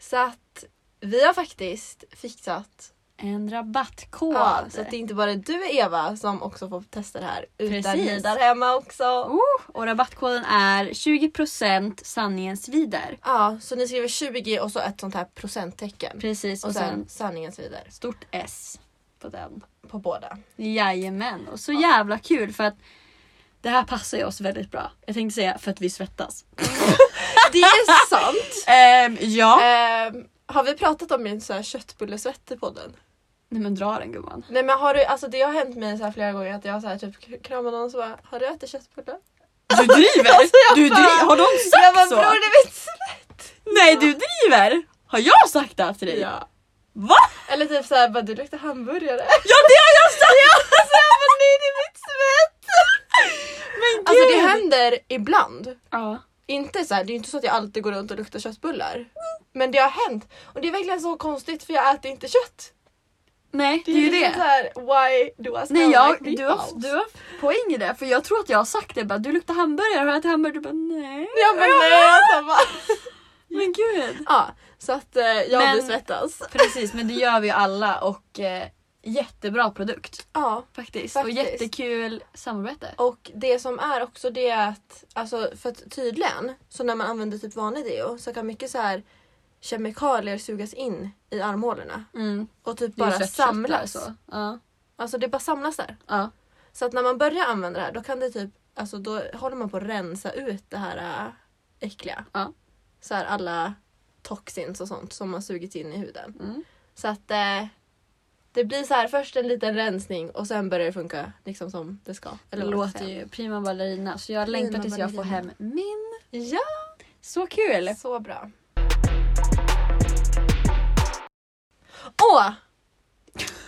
B: Så att vi har faktiskt fixat
A: En rabattkod.
B: ja, så att det inte bara är du Eva som också får testa det här. Utan
A: Precis.
B: ni där hemma också.
A: oh, och rabattkoden är 20% sanningens vider.
B: Ja, så ni skriver 20 och så ett sånt här procenttecken.
A: Precis,
B: Och sen sanningens vidare
A: stort S på den.
B: på båda.
A: Jajamän, och så jävla kul för att det här passar ju oss väldigt bra. Jag tänkte säga för att vi svettas.
B: Det är sant!
A: ja.
B: Ehm, har vi pratat om min så här köttbullesvett i podden?
A: Nej men dra den gumman.
B: Nej men har du, alltså det har hänt mig så här flera gånger att jag så här typ kramar någon och så bara Har du ätit köttbulle?
A: Du driver! Du
B: bara-
A: driver. Har de
B: Jag bara
A: sagt
B: bror
A: så?
B: det är mitt
A: Nej du driver! Har jag sagt det här till dig?
B: Ja.
A: Va?
B: Eller typ såhär bara du luktar hamburgare.
A: Ja det har jag sagt! Ja, alltså, jag bara, nej det är mitt svett! Men gud!
B: Alltså det händer ibland.
A: ja.
B: Inte så här, det är ju inte så att jag alltid går runt och luktar köttbullar. Men det har hänt. Och det är verkligen så konstigt för jag äter inte kött.
A: Nej det är ju
B: liksom Så
A: det.
B: här, why do I smell
A: Nej jag,
B: like
A: du, har, du har poäng i det för jag tror att jag har sagt det bara du luktar hamburgare, har du ätit hamburgare? Du bara nej.
B: Ja men nej alltså bara.
A: Men gud.
B: Ja, så att eh, jag
A: Men-
B: men... svettas.
A: Precis men det gör vi ju alla och eh, jättebra produkt
B: Ja.
A: faktiskt.
B: Faktiskt.
A: Och jättekul samarbete.
B: Och det som är också det är att, alltså för att tydligen, så när man använder typ vanlig deo så kan mycket så här kemikalier sugas in i armhålorna
A: Mm.
B: och typ
A: Det är ju
B: bara
A: svettköttar
B: samlas.
A: Så. Ja.
B: Alltså det bara samlas där.
A: Ja.
B: Så att när man börjar använda det här då kan det typ, alltså då håller man på att rensa ut det här äh, äckliga.
A: Ja.
B: Så här alla toxins och sånt som har sugits in i huden.
A: Mm.
B: Så att eh, det blir så här först en liten rensning och sen börjar det funka liksom som det ska.
A: Det
B: vad man ska
A: låter
B: säga.
A: ju prima ballerina så jag
B: Prima
A: längtar tills jag får hem
B: ballerina.
A: min.
B: Ja,
A: Så kul!
B: så bra. Åh!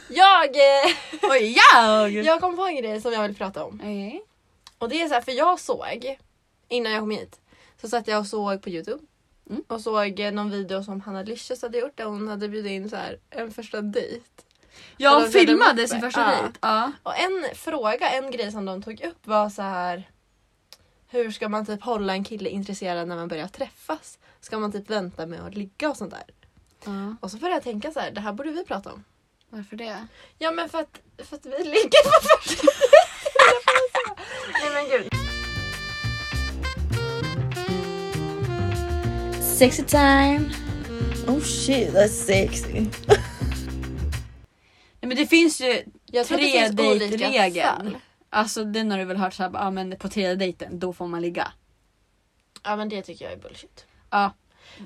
B: Jag, eh,
A: Och jag!
B: jag kom på en grej som jag vill prata om.
A: Okej.
B: Och det är så här, för jag såg, innan jag kom hit, så satt jag och såg på Youtube.
A: Mm.
B: Och såg eh, någon video som Hanna Licious hade gjort där hon hade bjudit in så här, en första dejt. Och de
A: Jag
B: körde
A: filmade
B: moppe.
A: sin första
B: Ja.
A: dejt. Ja.
B: Och en fråga, en grej som de tog upp var så här. Hur ska man typ hålla en kille intresserad när man börjar träffas? Ska man typ vänta med att ligga och sånt där?
A: ja.
B: Och så började jag tänka så här, det här borde vi prata om.
A: Varför det?
B: Ja men för att, för att vi ligger på första dejten, höll jag på att säga. Nej men gud.
A: Sexy time!
D: Oh shit, that's sexy.
A: Nej, men det finns ju,
B: Jag tror att det
A: Tre
B: finns olika
A: dejtregeln.
B: fall.
A: alltså den har du väl hört såhär, ah, men på tredje dejten då får man ligga.
B: Ja men det tycker jag är bullshit.
A: Ja.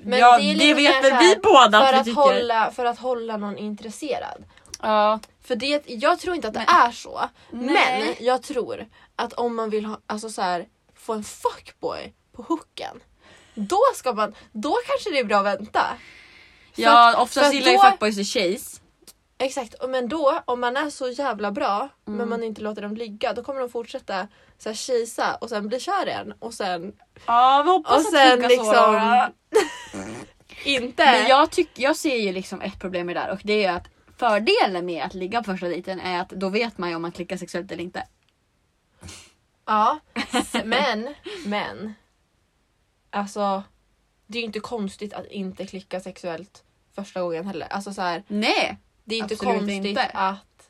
B: Men
A: ja,
B: det är
A: det,
B: lite mer
A: vet väl
B: så här,
A: vi båda att
B: För
A: vi
B: att,
A: tycker.
B: hålla, för att hålla någon intresserad.
A: Ja.
B: För det, jag tror inte att det är så.
A: Nej.
B: Men jag tror att om man vill ha, alltså så här, få en fuckboy på hooken. Då, ska man, då kanske det är bra att vänta. För
A: ja
B: att- för
A: oftast
B: att
A: gillar ju
B: då-
A: fuckboys och tjejs.
B: Exakt, och men då om man är så jävla bra men man inte låter dem ligga då kommer de fortsätta så här, kisa och sen bli kär igen och sen
A: Ja vi hoppas
B: Och
A: att
B: sen
A: det funkar så.
B: liksom-
A: då.
B: inte.
A: Men jag, tyck, jag ser ju liksom ett problem med det där och det är ju att fördelen med att ligga på första dejten är att då vet man ju om man klickar sexuellt eller inte.
B: Ja, s- men, men. Alltså det är ju inte konstigt att inte klicka sexuellt första gången heller. Alltså så här,
A: Nej!
B: Det är inte
A: Absolut
B: konstigt
A: inte.
B: att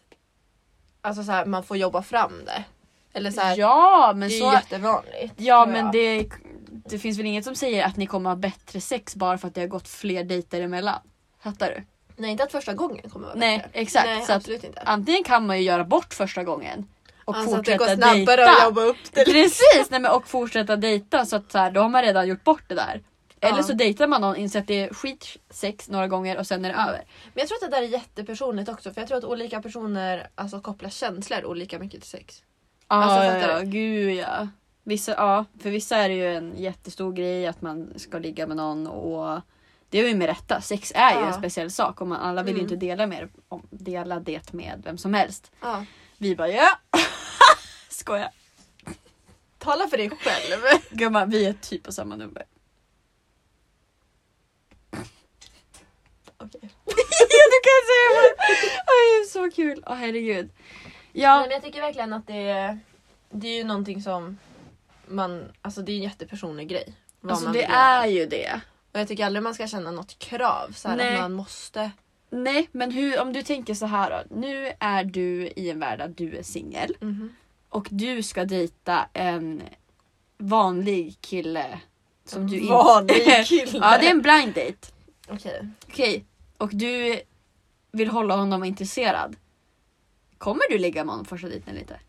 B: alltså så här, man får jobba fram det. Eller så här,
A: Ja men
B: det är
A: så...
B: jättevanligt.
A: Ja
B: tror
A: men
B: jag.
A: det, det finns väl inget som säger att ni kommer ha bättre sex bara för att det har gått fler dejter emellan. Fattar du?
B: Nej, inte att första gången kommer vara
A: Nej
B: bättre.
A: exakt.
B: Nej,
A: så att,
B: absolut inte.
A: antingen kan man ju göra bort första gången och
B: Alltså att det går
A: fortsätta
B: snabbare
A: dejta.
B: att jobba upp det.
A: Precis! Nej, men och fortsätta dejta så att så här, då har man redan gjort bort det där. Eller
B: Ja.
A: så dejtar man någon, inser att det är skitsex några gånger och sen är det över.
B: Men jag tror att det där är jättepersonligt också för jag tror att olika personer alltså, kopplar känslor olika mycket till sex.
A: Ja,
B: Alltså,
A: ja,
B: fattar
A: ja, gud ja. Vissa, ja, för vissa är det ju en jättestor grej att man ska ligga med någon och det är ju med rätta. Sex är ju
B: Ja.
A: en speciell sak och man, alla vill ju
B: Mm.
A: inte dela, med, om- dela det med vem som helst.
B: Ja.
A: Vi bara ja. Skoja.
B: Tala för dig själv.
A: Gumman, vi är typ på samma nummer.
B: Okej.
A: ja, du kan säga vad. Oj, det är så kul. Åh herregud. Ja,
B: Men jag tycker verkligen att det är, det är ju någonting som man, alltså det är en jättepersonlig grej. vad
A: alltså
B: man
A: det
B: vill göra.
A: är ju det.
B: Och jag tycker aldrig man ska känna något krav så här,
A: Nej.
B: att man måste.
A: Nej, men hur, om du tänker så här då. Nu är du i en värld där du är singel.
B: Mhm.
A: och du ska dejta en vanlig kille som
B: Mm.
A: du inte...
B: Vanlig kille.
A: ja, det är en blind date.
B: Okej.
A: Okej, och du vill hålla honom intresserad. Kommer du ligga med honom första dejten lite?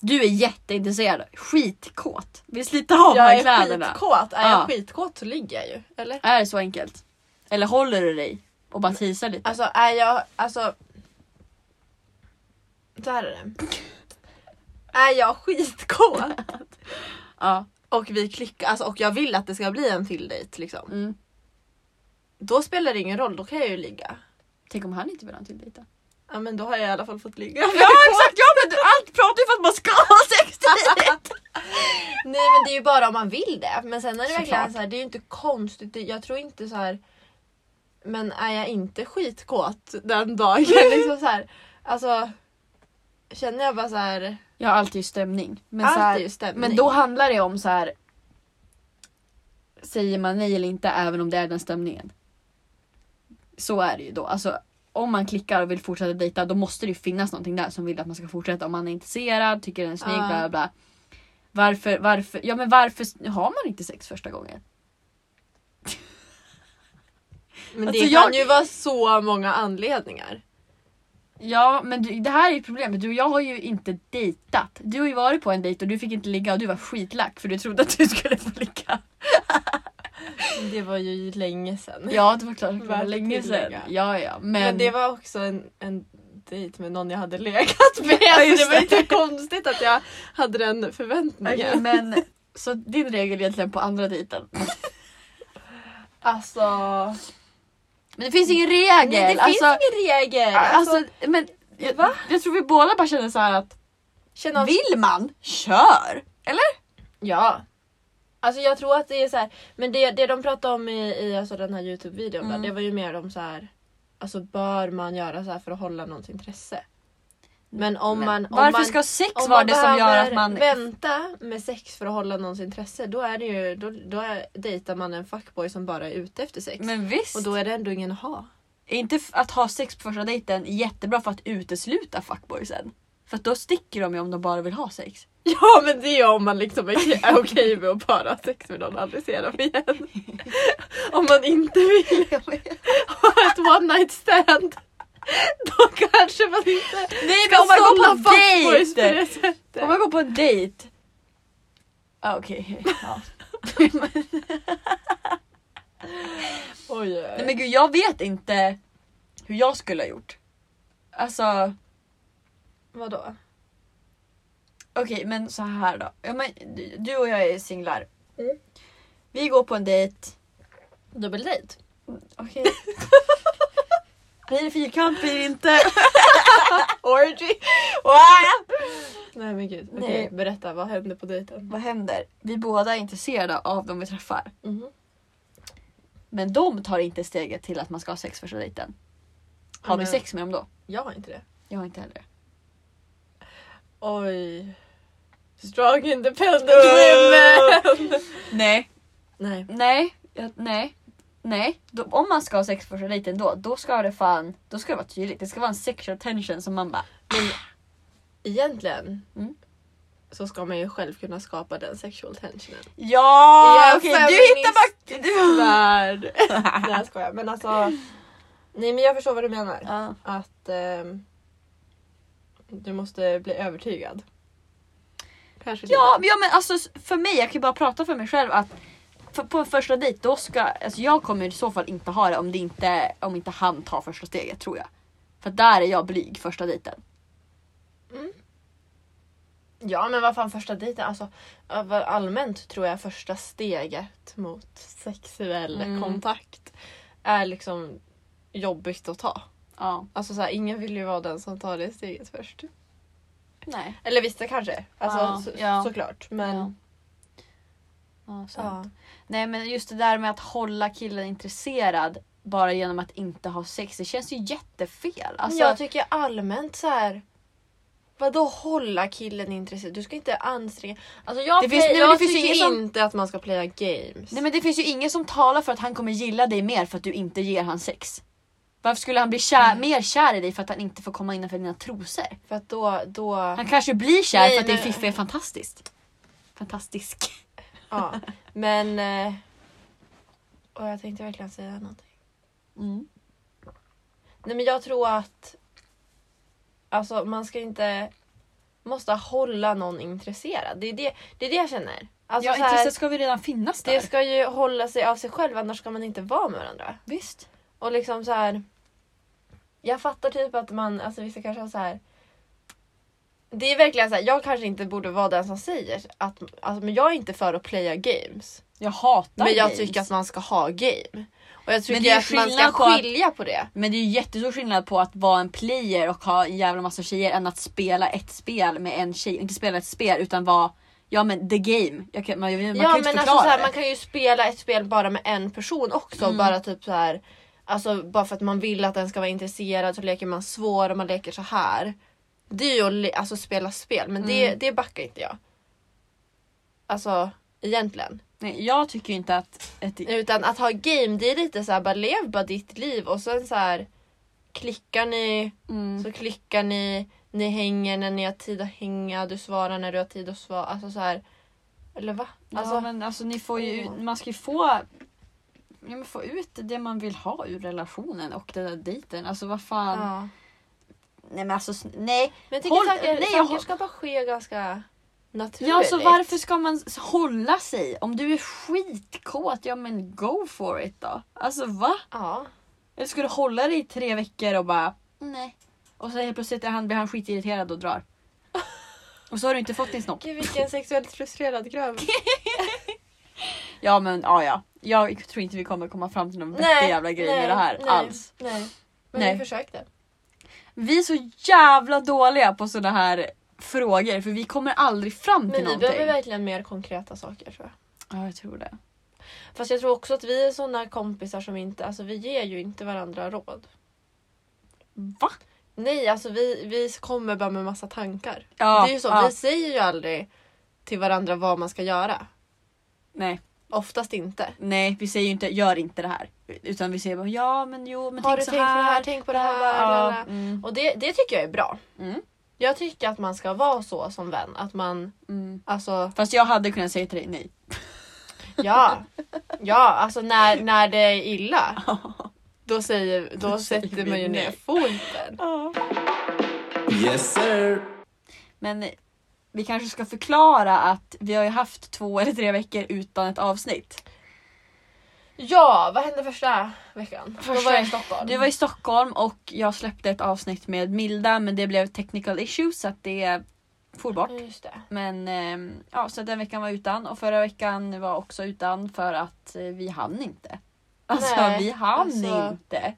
A: Du är jätteintresserad, skitkåt, vill slita av
B: Jag
A: mig
B: är
A: kläderna.
B: skitkåt. Är
A: Ja.
B: jag skitkåt så ligger jag ju. Eller?
A: Är det så enkelt? Eller håller du dig och bara teasar lite?
B: Alltså är jag, alltså. Så här är det. Är jag skitkåt
A: Ja.
B: och vi klickar, alltså, och jag vill att det ska bli en till dejt liksom.
A: Mm.
B: Då spelar det ingen roll, då kan jag ju ligga.
A: Tänk om han inte vill ha en till dejt då?
B: Ja men då har jag i alla fall fått ligga.
A: Ja exakt! Ja, men du, allt pratar ju för att man ska ha sex
B: Nej men det är ju bara om man vill det. Men sen är det
A: Såklart.
B: verkligen så här, det är ju inte konstigt. Det- Jag tror inte så här. Men är jag inte skitkåt den dagen liksom så här. Alltså. Känner jag bara så här.
A: Ja allt är ju stämning. Men,
B: allt
A: så här,
B: är ju stämning.
A: men då handlar det om så här. Säger man nej eller inte även om det är den stämningen. Så är det ju då. Alltså, om man klickar och vill fortsätta dejta då måste det ju finnas någonting där som vill att man ska fortsätta. Om man är intresserad, tycker den är snygg,
B: Ja.
A: bla bla bla. Varför, varför, ja men varför har man inte sex första gången?
B: men
A: alltså
B: det
A: jag-
B: kan ju vara så många anledningar.
A: Ja men du, det här är ju problemet, du och jag har ju inte dejtat. Du har ju varit på en dejt och du fick inte ligga och du var skitlack för du trodde att du skulle få ligga.
B: Det var ju länge sedan.
A: Ja, det var klart. Det var
B: Värt att
A: länge sedan.
B: tillägga.
A: Ja, ja. Men,
B: Men, det var också en, en dejt med någon jag hade legat med.
A: just
B: så det var
A: det.
B: inte konstigt att jag hade den förväntningen.
A: Okej, men Så din regel är egentligen på andra dejten.
B: Alltså,
A: Men det finns ingen regel.
B: nej, det
A: alltså,
B: finns ingen regel.
A: alltså, men, jag,
B: Va?
A: jag tror vi båda bara känner så här att
B: känna oss-
A: vill man, kör! Eller?
B: Ja. Alltså jag tror att det är så här, men det, det de pratade om i, i alltså den här Youtube-videon,
A: Mm.
B: där, det var ju mer om så här, alltså bör man göra så här för att hålla någons intresse? Men om
A: Men
B: man... Om
A: Varför
B: man,
A: ska sex
B: om
A: vara
B: man
A: det som gör
B: behöver
A: att man...
B: vänta med sex för att hålla någons intresse, då är det ju, då, då är, dejtar man en fuckboy som bara är ute efter sex.
A: Men visst!
B: Och då är det ändå ingen att ha.
A: Är inte f- att ha sex på första dejten jättebra för att utesluta fuckboysen? För att då sticker de ju om de bara vill ha sex.
B: Ja men det är om man liksom är okej med att bara ha sex med någon och aldrig se dem igen. Om man inte vill ha ett one night stand. Då kanske man inte
A: Nej
B: ska
A: men om man går
B: sålla
A: på
B: fuckboys på
A: dejt!
B: det sättet.
A: Om man går på en dejt. Ah, Okej. Ja.
B: Oj,
A: Nej men gud jag vet inte hur jag skulle ha gjort. Alltså
B: Vadå?
A: okej men så här då. Ja, men, du- du och jag är singlar.
B: Mm.
A: Vi går på en dejt.
B: Dubbeldejt?
A: Okej. Blir det fyrkant blir det inte.
B: Orgy?
A: Wow!
B: Nej men gud. Okej
A: Nej.
B: berätta vad hände på dejten?
A: Vad händer? Vi båda är intresserade av dem vi träffar. Men de tar inte steget till att man ska ha sex första dejten. Har
B: Men-
A: vi sex med dem då?
B: Jag har inte det.
A: Jag har inte heller det.
B: Oj. Strong independent women!
A: Nej.
B: Nej.
A: Nej, jag, nej, nej. Då, om man ska ha sex första dejten då, då ska det fan, då ska det vara tydligt. Det ska vara en sexual tension som man bara...
B: Egentligen
A: Mm.
B: så ska man ju själv kunna skapa den sexual tensionen.
A: Ja!
B: Ja,
A: okej, du
B: feminist.
A: hittar bara... Du...
B: Värld. Nej jag skojar men alltså. Nej men jag förstår vad du menar.
A: Ja.
B: Att ehm, du måste bli övertygad. Kanske lite.
A: Ja, men- ja men alltså s- för mig, jag kan ju bara prata för mig själv att för, på en första dejt då ska, alltså jag kommer i så fall inte ha det om, det inte, om inte han tar första steget tror jag. För där är jag blyg första dejten.
B: Mm. Ja men vad fan första dejten, alltså över- allmänt tror jag första steget mot sexuell
A: Mm.
B: kontakt är liksom jobbigt att ta.
A: Ja,
B: Alltså så här, ingen vill ju vara den som tar det steget först.
A: nej.
B: Eller vissa kanske, alltså
A: Ja,
B: så,
A: ja.
B: såklart. Men
A: Ja.
B: ja.
A: Ja, sant. Nej men just det där med att hålla killen intresserad bara genom att inte ha sex, det känns ju jättefel.
B: Men
A: Alltså,
B: jag tycker allmänt så här. Vadå hålla killen intresserad? Du ska inte anstränga... Alltså jag,
A: Det finns-
B: play,
A: nej, men
B: jag
A: det finns ju
B: tycker
A: ingen som-
B: inte att man ska playa games.
A: Nej men det finns ju ingen som talar för att han kommer gilla dig mer för att du inte ger han sex. Varför skulle han bli kär, mer kär i dig för att han inte får komma innanför dina trosor?
B: För att då... då
A: Han kanske blir kär
B: Nej,
A: för att din
B: men-
A: fiffi är fantastiskt. Fantastisk.
B: ja. Men... eh, Och jag tänkte verkligen säga någonting.
A: Mm.
B: Nej men jag tror att... Alltså man ska inte... Måste hålla någon intresserad. Det är det, det, är det jag känner. Alltså,
A: ja
B: så här,
A: intresset ska vi redan finnas där.
B: det ska ju hålla sig av sig själv annars ska man inte vara med varandra.
A: Visst.
B: Och liksom så här. Jag fattar typ att man, alltså vissa kanske har så här. Det är verkligen så här, jag kanske inte borde vara den som säger att, alltså, men jag är inte för att playa games.
A: Jag hatar
B: men jag
A: games.
B: tycker att man ska ha game. Och
A: det
B: jag tycker
A: är
B: att man ska
A: skillnad på att-
B: skilja på det.
A: Men det är ju jättestor skillnad på att vara en player och ha en jävla massa tjejer än att spela ett spel med en tjej. Inte spela ett spel utan vara, ja men the game. Jag kan, man, man kan
B: ja
A: ju inte
B: men
A: förklara
B: alltså så här,
A: det.
B: man kan ju spela ett spel bara med en person också.
A: Mm.
B: Bara typ så här, alltså bara för att man vill att den ska vara intresserad så leker man svår och man leker så här. Det är ju att le- alltså, spela spel men det,
A: Mm.
B: det backar inte jag. Alltså egentligen.
A: Nej, jag tycker ju inte att ett
B: Utan att ha game det är lite så här, bara lev bara ditt liv och sen så här klickar ni
A: Mm.
B: så klickar ni, ni hänger när ni har tid att hänga, du svarar när du har tid att svara. Alltså så här. Eller va? Alltså,
A: ja, men alltså ni får ju,
B: Åh.
A: man ska ju få, ja, men få ut det man vill ha ur relationen och den där dejten. Alltså vad fan.
B: ja.
A: Nej men alltså sn- nej.
B: Men jag tycker
A: Håll-
B: saker,
A: nej, jag
B: saker
A: håll-
B: ska bara ske ganska naturligt.
A: Ja så varför ska man s- hålla sig? Om du är skitkåt, ja men go for it då. Alltså va?
B: Ja.
A: Eller ska du hålla dig i tre veckor och bara nej. Och sen helt plötsligt är han, blir han skitirriterad och drar. Och så har du inte fått din snopp.
B: Gud vilken sexuellt frustrerad grabb.
A: Ja men ja ja. Jag tror inte vi kommer komma fram till någon vettig
B: Nej,
A: jävla grej
B: nej,
A: med det här
B: nej.
A: alls.
B: Nej. Men
A: Nej.
B: vi försökte.
A: Vi är så jävla dåliga på sådana här frågor för vi kommer aldrig fram till
B: Men vi
A: någonting.
B: behöver verkligen mer konkreta saker tror jag.
A: Ja, jag tror det.
B: Fast jag tror också att vi är såna kompisar som inte, alltså vi ger ju inte varandra råd.
A: Va?
B: Nej, alltså vi, vi kommer bara med massa tankar.
A: Ja,
B: det är ju så,
A: ja.
B: vi säger ju aldrig till varandra vad man ska göra.
A: Nej,
B: Oftast inte.
A: nej, vi säger ju inte gör inte det här. Utan vi säger bara ja men jo men
B: Har
A: tänk
B: du
A: så
B: tänkt på det
A: här.
B: här, tänk på det här.
A: Ja,
B: lalala.
A: mm,
B: Och det, det tycker jag är bra.
A: Mm.
B: Jag tycker att man ska vara så som vän. Att man,
A: mm.
B: alltså,
A: Fast jag hade kunnat säga till dig nej.
B: ja. ja, alltså när, när det är illa. Då, säger, då
A: säger
B: sätter
A: vi
B: man ju ner
A: nej.
B: foten.
C: Yes sir.
A: Men vi kanske ska förklara att vi har ju haft två eller tre veckor utan ett avsnitt.
B: Ja, vad hände första veckan? Då
A: Första-
B: var jag i Stockholm.
A: Du var i Stockholm och jag släppte ett avsnitt med Milda men det blev technical issues så att det for bort.
B: Ja, Just det.
A: Men ehm, ja, så den veckan var utan och förra veckan var också utan för att eh, vi hann inte. Alltså
B: Nej,
A: vi hann
B: alltså-
A: inte.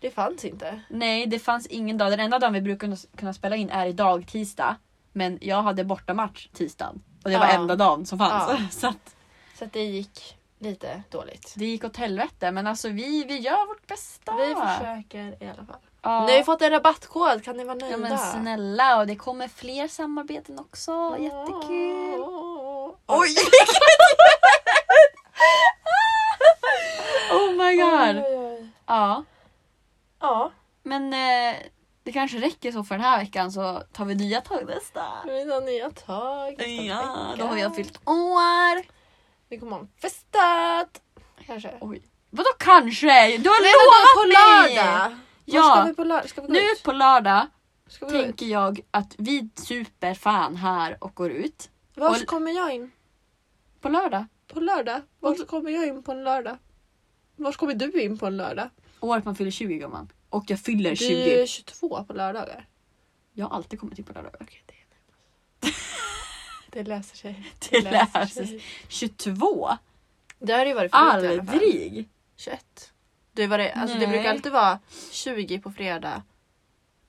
B: Det fanns inte.
A: Nej det fanns ingen dag. Den enda dagen vi brukar kunna- kunna spela in är idag tisdag. Men jag hade bortamatch tisdagen. Och det var
B: Ja.
A: enda dagen som fanns.
B: Ja.
A: Så att
B: Så att det gick lite dåligt.
A: det gick åt helvete. Men alltså vi, vi gör vårt bästa.
B: Vi försöker i alla fall.
A: Ja.
B: Nu har vi fått en rabattkod, kan ni vara nöjda?
A: ja, men snälla och det kommer fler samarbeten också. Jättekul. Oj! oh my
B: Oj,
A: god.
B: oj, oj.
A: Ja.
B: Ja,
A: Men eh, det kanske räcker så för den här veckan så tar vi nya tag nästa.
B: vi tar nya tag nästa
A: Ja,
B: vecka.
A: då har jag fyllt år.
B: Vi kommer ha en festat! Kanske.
A: Oj. Vadå kanske? Du har
B: på
A: lovat mig!
B: lördag! Var ska
A: Ja,
B: vi på lördag? Ska vi gå
A: nu
B: ut?
A: på lördag
B: Ska vi gå ut?
A: tänker jag att vi super fan här och går ut.
B: Var
A: och-
B: kommer jag in?
A: På lördag.
B: På lördag?
A: Mm.
B: Var kommer jag in på en lördag? Var kommer du in på en lördag?
A: Året man fyller 20 gumman. Och jag fyller
B: Du
A: 20.
B: är 22 på lördagar.
A: Jag har alltid kommit in på lördagar.
B: Okej, det är Det löser sig.
A: Det läses. 22?
B: Det har det ju varit förut i alla fall.
A: Aldrig!
B: 21. Det, var det, alltså det
A: Nej.
B: brukar alltid vara 20 på fredag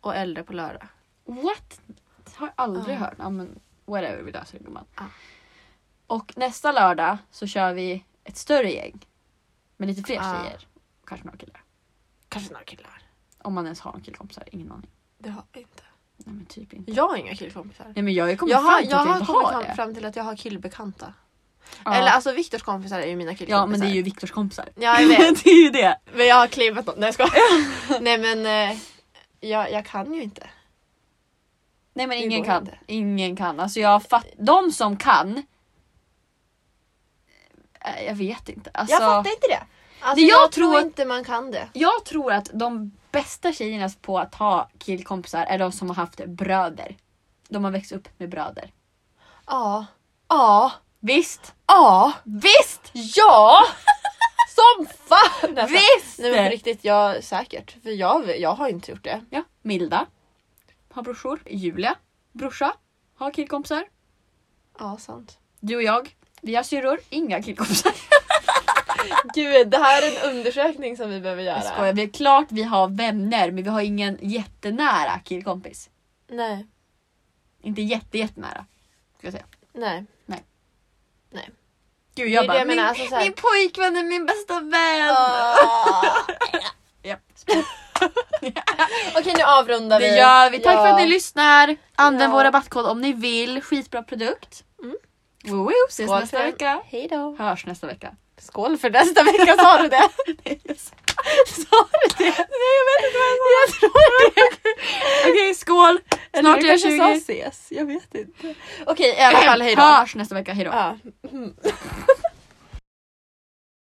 B: och äldre på lördag.
A: What? Det har jag aldrig
B: Ja.
A: hört. Ja, men whatever, vi löser det gumman.
B: Ja.
A: Och nästa lördag så kör vi ett större gäng. Med lite fler
B: Ja.
A: tjejer. Kanske några killar.
B: Kanske några killar.
A: Om man ens har några killkompisar, ingen aning.
B: Det har jag inte.
A: Nej men typ inte.
B: Jag har inga killkompisar.
A: Nej men jag har ju kommit
B: Jag har,
A: fram till
B: jag
A: att jag
B: har
A: inte
B: kommit
A: har
B: fram,
A: det.
B: fram till att jag har killbekanta.
A: Ja.
B: Eller alltså Viktors kompisar är ju mina killkompisar.
A: ja men det är ju Viktors kompisar.
B: Ja, jag vet.
A: det är ju det.
B: Men jag har claimat dem. Nej jag skojar. Nej men eh, jag, jag kan ju inte.
A: Nej men
B: Det
A: ingen
B: går
A: kan.
B: inte.
A: Ingen kan. Alltså jag fatt... De som kan. Eh, Jag vet inte. Alltså,
B: jag fattar inte det. Alltså,
A: Det jag
B: jag,
A: tror
B: tror
A: att-
B: inte man kan det.
A: Jag tror att de bästa tjejerna på att ha killkompisar är de som har haft bröder. De har växt upp med bröder.
B: Ja. Ja.
A: Visst?
B: Ja.
A: Visst!
B: Ja! Som fan! Nej, fan.
A: Visst!
B: Nej men på riktigt, jag säkert. För jag, jag har inte gjort det.
A: Ja, Milda har brorsor. Julia, brorsa, har killkompisar.
B: Ja, sant.
A: Du och jag, vi har syrror, inga killkompisar.
B: Gud, det här är en undersökning som vi behöver göra.
A: Jag skojar. Vi är klart vi har vänner men vi har ingen jättenära killkompis.
B: Nej,
A: Inte jätte, jättenära. Ska jag säga.
B: nej.
A: Gud
B: Det är
A: jag
B: det
A: bara,
B: jag menar,
A: min,
B: alltså så här-
A: min pojkvän är min bästa vän! Japp.
B: Okej, nu avrundar vi.
A: Det gör vi. Tack
B: Ja.
A: för att ni lyssnar. Använd
B: Ja.
A: vår rabattkod om ni vill. Skitbra produkt.
B: Mm.
A: Woo, woo. Ses
B: Skål
A: nästa
B: för den.
A: vecka.
B: Hej då.
A: Hörs nästa vecka.
B: Skål för nästa vecka, sa du det?
A: Sa du det? Nej jag vet inte vad jag sa. Jag tror det. Okej skål. Snart är jag 20.
B: ses, jag vet inte. Okej, i alla fall hej då.
A: Hörs nästa vecka. Hejdå.
B: Ja.